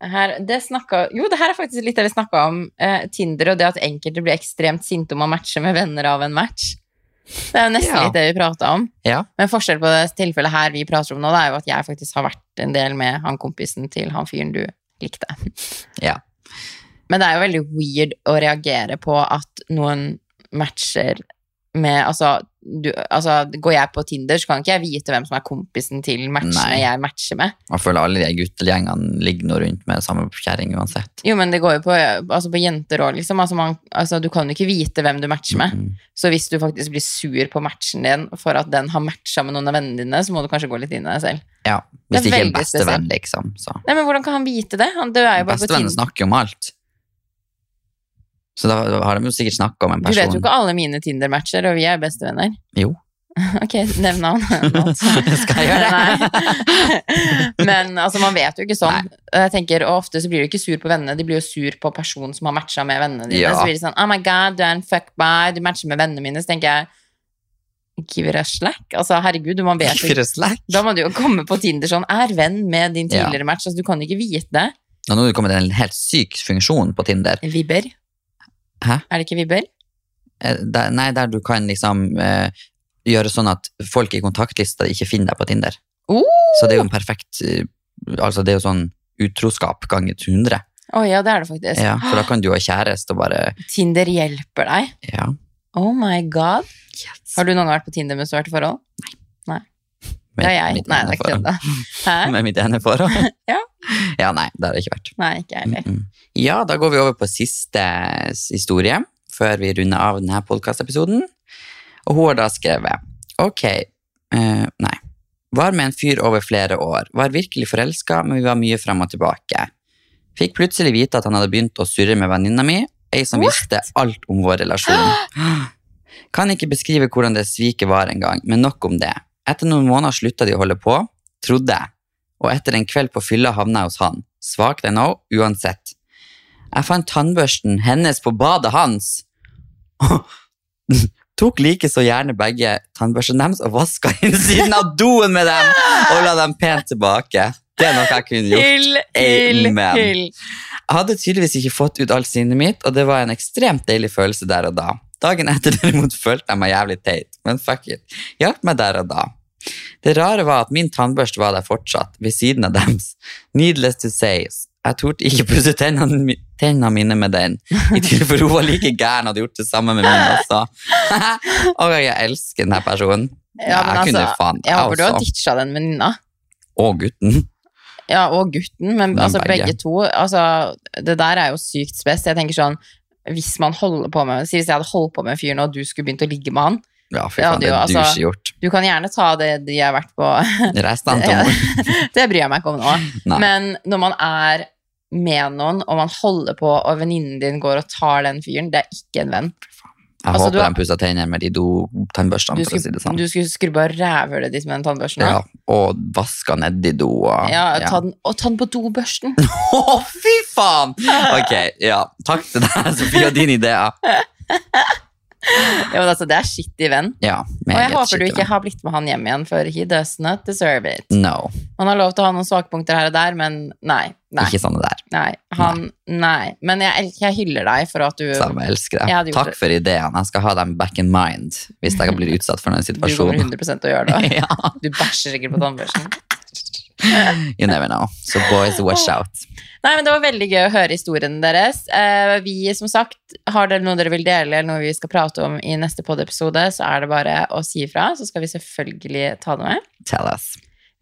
[SPEAKER 1] Her, det snakka, jo, det her er faktisk litt det vi snakka om. Eh, Tinder og det at enkelte blir ekstremt sinte om å matche med venner av en match. Det er jo nesten
[SPEAKER 2] Ja.
[SPEAKER 1] litt det vi prata om.
[SPEAKER 2] Ja.
[SPEAKER 1] Men forskjell på det tilfellet her vi prater om nå, det er jo at jeg faktisk har vært en del med han kompisen til han fyren du likte.
[SPEAKER 2] Ja.
[SPEAKER 1] Men det er jo veldig weird å reagere på at noen matcher med Altså, du, altså går jeg på Tinder, så kan ikke jeg vite hvem som er kompisen til matchene
[SPEAKER 2] Nei.
[SPEAKER 1] jeg matcher med.
[SPEAKER 2] Man føler alle de guttegjengene ligger nå rundt med samme kjerring uansett.
[SPEAKER 1] Jo, men det går jo på, altså på jenter òg, liksom. Altså man, altså du kan jo ikke vite hvem du matcher med.
[SPEAKER 2] Mm.
[SPEAKER 1] Så hvis du faktisk blir sur på matchen din for at den har matcha med noen av vennene dine, så må du kanskje gå litt inn i deg selv.
[SPEAKER 2] Ja.
[SPEAKER 1] Det er
[SPEAKER 2] Hvis det ikke er
[SPEAKER 1] veldig
[SPEAKER 2] bestevenn, liksom. Så.
[SPEAKER 1] Nei, men hvordan kan han vite det? Han dør jo bare på
[SPEAKER 2] Bestevennen
[SPEAKER 1] Tinder.
[SPEAKER 2] snakker jo om alt. Så da har de jo sikkert snakka om en
[SPEAKER 1] Du
[SPEAKER 2] person.
[SPEAKER 1] vet jo ikke alle mine Tinder-matcher, og vi er bestevenner.
[SPEAKER 2] [laughs] Jo.
[SPEAKER 1] [laughs] Ok, nevn
[SPEAKER 2] [laughs]
[SPEAKER 1] navn. [laughs]
[SPEAKER 2] Skal jeg gjøre [laughs] det?
[SPEAKER 1] Nei. [laughs] Men altså, man vet jo ikke sånn. Jeg tenker, og Ofte så blir du ikke sur på vennene, de blir jo sur på personen som har matcha med vennene dine.
[SPEAKER 2] Ja.
[SPEAKER 1] Så blir det sånn, oh my god, du er en fuckboy, du matcher med vennene mine. Så tenker jeg, give it a slack. Altså, herregud, du- man vet jo ikke.
[SPEAKER 2] Fire slack.
[SPEAKER 1] Da må du jo komme på Tinder sånn, er venn med din
[SPEAKER 2] Ja.
[SPEAKER 1] tidligere match. Altså, du kan ikke vite det.
[SPEAKER 2] Og nå er det kommet en helt syk funksjon på Tinder.
[SPEAKER 1] Vibber.
[SPEAKER 2] Hæ?
[SPEAKER 1] Er det ikke vibber?
[SPEAKER 2] Eh, Der, nei, der du kan liksom eh, gjøre sånn at folk i kontaktlista ikke finner deg på Tinder.
[SPEAKER 1] Oh!
[SPEAKER 2] Så det er jo en perfekt eh, Altså, det er jo sånn utroskap ganger 100.
[SPEAKER 1] Å ja, det er det faktisk.
[SPEAKER 2] Ja, for da kan du ha kjæreste og bare
[SPEAKER 1] [gasps] Tinder hjelper deg.
[SPEAKER 2] Ja.
[SPEAKER 1] Oh my god.
[SPEAKER 2] Yes.
[SPEAKER 1] Har du noen gang vært på Tinder mens du har vært i forhold?
[SPEAKER 2] Med
[SPEAKER 1] Det har jeg.
[SPEAKER 2] mitt
[SPEAKER 1] Nei,
[SPEAKER 2] ene
[SPEAKER 1] det er ikke
[SPEAKER 2] forhold.
[SPEAKER 1] det.
[SPEAKER 2] [laughs]
[SPEAKER 1] Hæ?
[SPEAKER 2] Med mitt ene forhold?
[SPEAKER 1] [laughs] Ja.
[SPEAKER 2] ja, nei, det har det ikke vært.
[SPEAKER 1] Nei, ikke jeg heller.
[SPEAKER 2] Mm. Ja, da går vi over på siste s- historie før vi runder av denne podkastepisoden. Og hun har da skrevet Ok, eh, nei. Var med en fyr over flere år. Var virkelig forelska, men vi var mye fram og tilbake. Fikk plutselig vite at han hadde begynt å surre med venninna mi, ei som
[SPEAKER 1] What?
[SPEAKER 2] visste alt om vår relasjon. Kan ikke beskrive hvordan det sviket var engang, men nok om det. Etter noen måneder slutta de å holde på, trodde jeg, og etter en kveld på fylla havna jeg hos han. Svakt ennå, uansett. Jeg fant tannbørsten hennes på badet hans. [laughs] Tok like så gjerne begge tannbørstene deres og vaska innsiden av doen med dem og la dem pent tilbake. Det er noe jeg kunne gjort.
[SPEAKER 1] Hyll, hyll,
[SPEAKER 2] Amen.
[SPEAKER 1] hyll.
[SPEAKER 2] Jeg hadde tydeligvis ikke fått ut alt sinnet mitt, og det var en ekstremt deilig følelse der og da. Dagen etter derimot følte jeg meg jævlig teit, men fuck it. Hjalp meg der og da. Det rare var at min tannbørste var der fortsatt, ved siden av dems. Needless to say, jeg torde ikke pusse tennene, mi- tennene mine med den. I tilfelle hun var like gæren og hadde gjort det samme med min også. [laughs] og jeg elsker denne personen.
[SPEAKER 1] Ja, men
[SPEAKER 2] jeg kunne
[SPEAKER 1] altså,
[SPEAKER 2] faen,
[SPEAKER 1] Jeg
[SPEAKER 2] jeg
[SPEAKER 1] håper du har
[SPEAKER 2] også.
[SPEAKER 1] ditcha den venninna.
[SPEAKER 2] Og gutten.
[SPEAKER 1] Ja, og gutten, men
[SPEAKER 2] Men
[SPEAKER 1] altså,
[SPEAKER 2] begge.
[SPEAKER 1] begge to. Altså, det der er jo sykt spes. Jeg tenker sånn hvis man holder på med Si hvis jeg hadde holdt på med en fyr nå, og du skulle begynt å ligge med han.
[SPEAKER 2] Ja, fy
[SPEAKER 1] Ja,
[SPEAKER 2] faen,
[SPEAKER 1] det
[SPEAKER 2] det
[SPEAKER 1] jo,
[SPEAKER 2] er
[SPEAKER 1] altså-
[SPEAKER 2] douche gjort.
[SPEAKER 1] Du kan gjerne ta det de har vært på [laughs]
[SPEAKER 2] Restene til
[SPEAKER 1] Ja.
[SPEAKER 2] mor.
[SPEAKER 1] Det bryr jeg meg ikke om nå.
[SPEAKER 2] Nei.
[SPEAKER 1] Men når man er med noen, og man holder på, og venninnen din går og tar den fyren, det er ikke en venn.
[SPEAKER 2] Jeg
[SPEAKER 1] Altså, du
[SPEAKER 2] håper
[SPEAKER 1] har-
[SPEAKER 2] de pusser tenner med de do-tannbørstene,
[SPEAKER 1] Du
[SPEAKER 2] for å si det
[SPEAKER 1] skulle,
[SPEAKER 2] sånn.
[SPEAKER 1] du skulle skrubbe av rævhølet ditt med den tannbørsten.
[SPEAKER 2] Ja,
[SPEAKER 1] da.
[SPEAKER 2] og vasker nedi do. Og,
[SPEAKER 1] Ja, ta den, og ta den på dobørsten!
[SPEAKER 2] [laughs] Å, fy
[SPEAKER 1] [laughs]
[SPEAKER 2] faen! Ok, ja. Takk til deg, Sofie, og din idé. Ja,
[SPEAKER 1] Ja, men altså, det er skittig venn.
[SPEAKER 2] ja
[SPEAKER 1] Og jeg
[SPEAKER 2] meget
[SPEAKER 1] håper du
[SPEAKER 2] skittent.
[SPEAKER 1] ikke har blitt med han hjem igjen, for he does not deserve it.
[SPEAKER 2] No,
[SPEAKER 1] Han har lov til å ha noen svakpunkter her og der, men nei. Nei.
[SPEAKER 2] ikke sånn det der.
[SPEAKER 1] nei. Han, nei. Men jeg, elsker- jeg hyller deg for at du,
[SPEAKER 2] Samme, jeg elsker
[SPEAKER 1] Jeg hadde
[SPEAKER 2] det.
[SPEAKER 1] gjort
[SPEAKER 2] Takk
[SPEAKER 1] det.
[SPEAKER 2] for ideen. Jeg skal ha dem back in mind hvis jeg blir utsatt for
[SPEAKER 1] [laughs]
[SPEAKER 2] noen
[SPEAKER 1] du kommer
[SPEAKER 2] situasjon.
[SPEAKER 1] 100 til å gjøre det.
[SPEAKER 2] [laughs] ja,
[SPEAKER 1] Du bæsjer sikkert på tannbørsten.
[SPEAKER 2] you never know. So boys, watch out.
[SPEAKER 1] Nei, men Det var veldig gøy å høre historiene deres. Eh, vi, som sagt, Har dere noe dere vil dele, eller noe vi skal prate om i neste podiepisode, så er det bare å si ifra. Så skal vi selvfølgelig ta det med.
[SPEAKER 2] Tell us.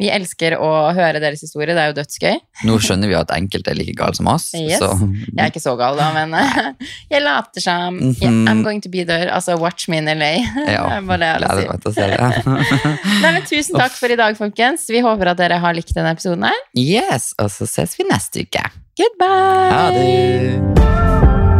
[SPEAKER 1] Vi elsker å høre deres historie. Det er jo dødsgøy.
[SPEAKER 2] Nå skjønner vi jo at enkelte er like gale som oss.
[SPEAKER 1] Yes.
[SPEAKER 2] Så
[SPEAKER 1] Jeg er ikke så gal, da, men [laughs] eh, jeg later som. Yeah,
[SPEAKER 2] Mhm.
[SPEAKER 1] I'm going to be there. Altså, watch me in LA.
[SPEAKER 2] ja,
[SPEAKER 1] Det er bare det jeg har å si.
[SPEAKER 2] gleder meg til å se det.
[SPEAKER 1] [laughs]
[SPEAKER 2] [laughs]
[SPEAKER 1] Nei, men Tusen takk for i dag, folkens. Vi håper at dere har likt denne episoden. her.
[SPEAKER 2] Yes, og så ses vi neste uke.
[SPEAKER 1] Goodbye!
[SPEAKER 2] Ha det!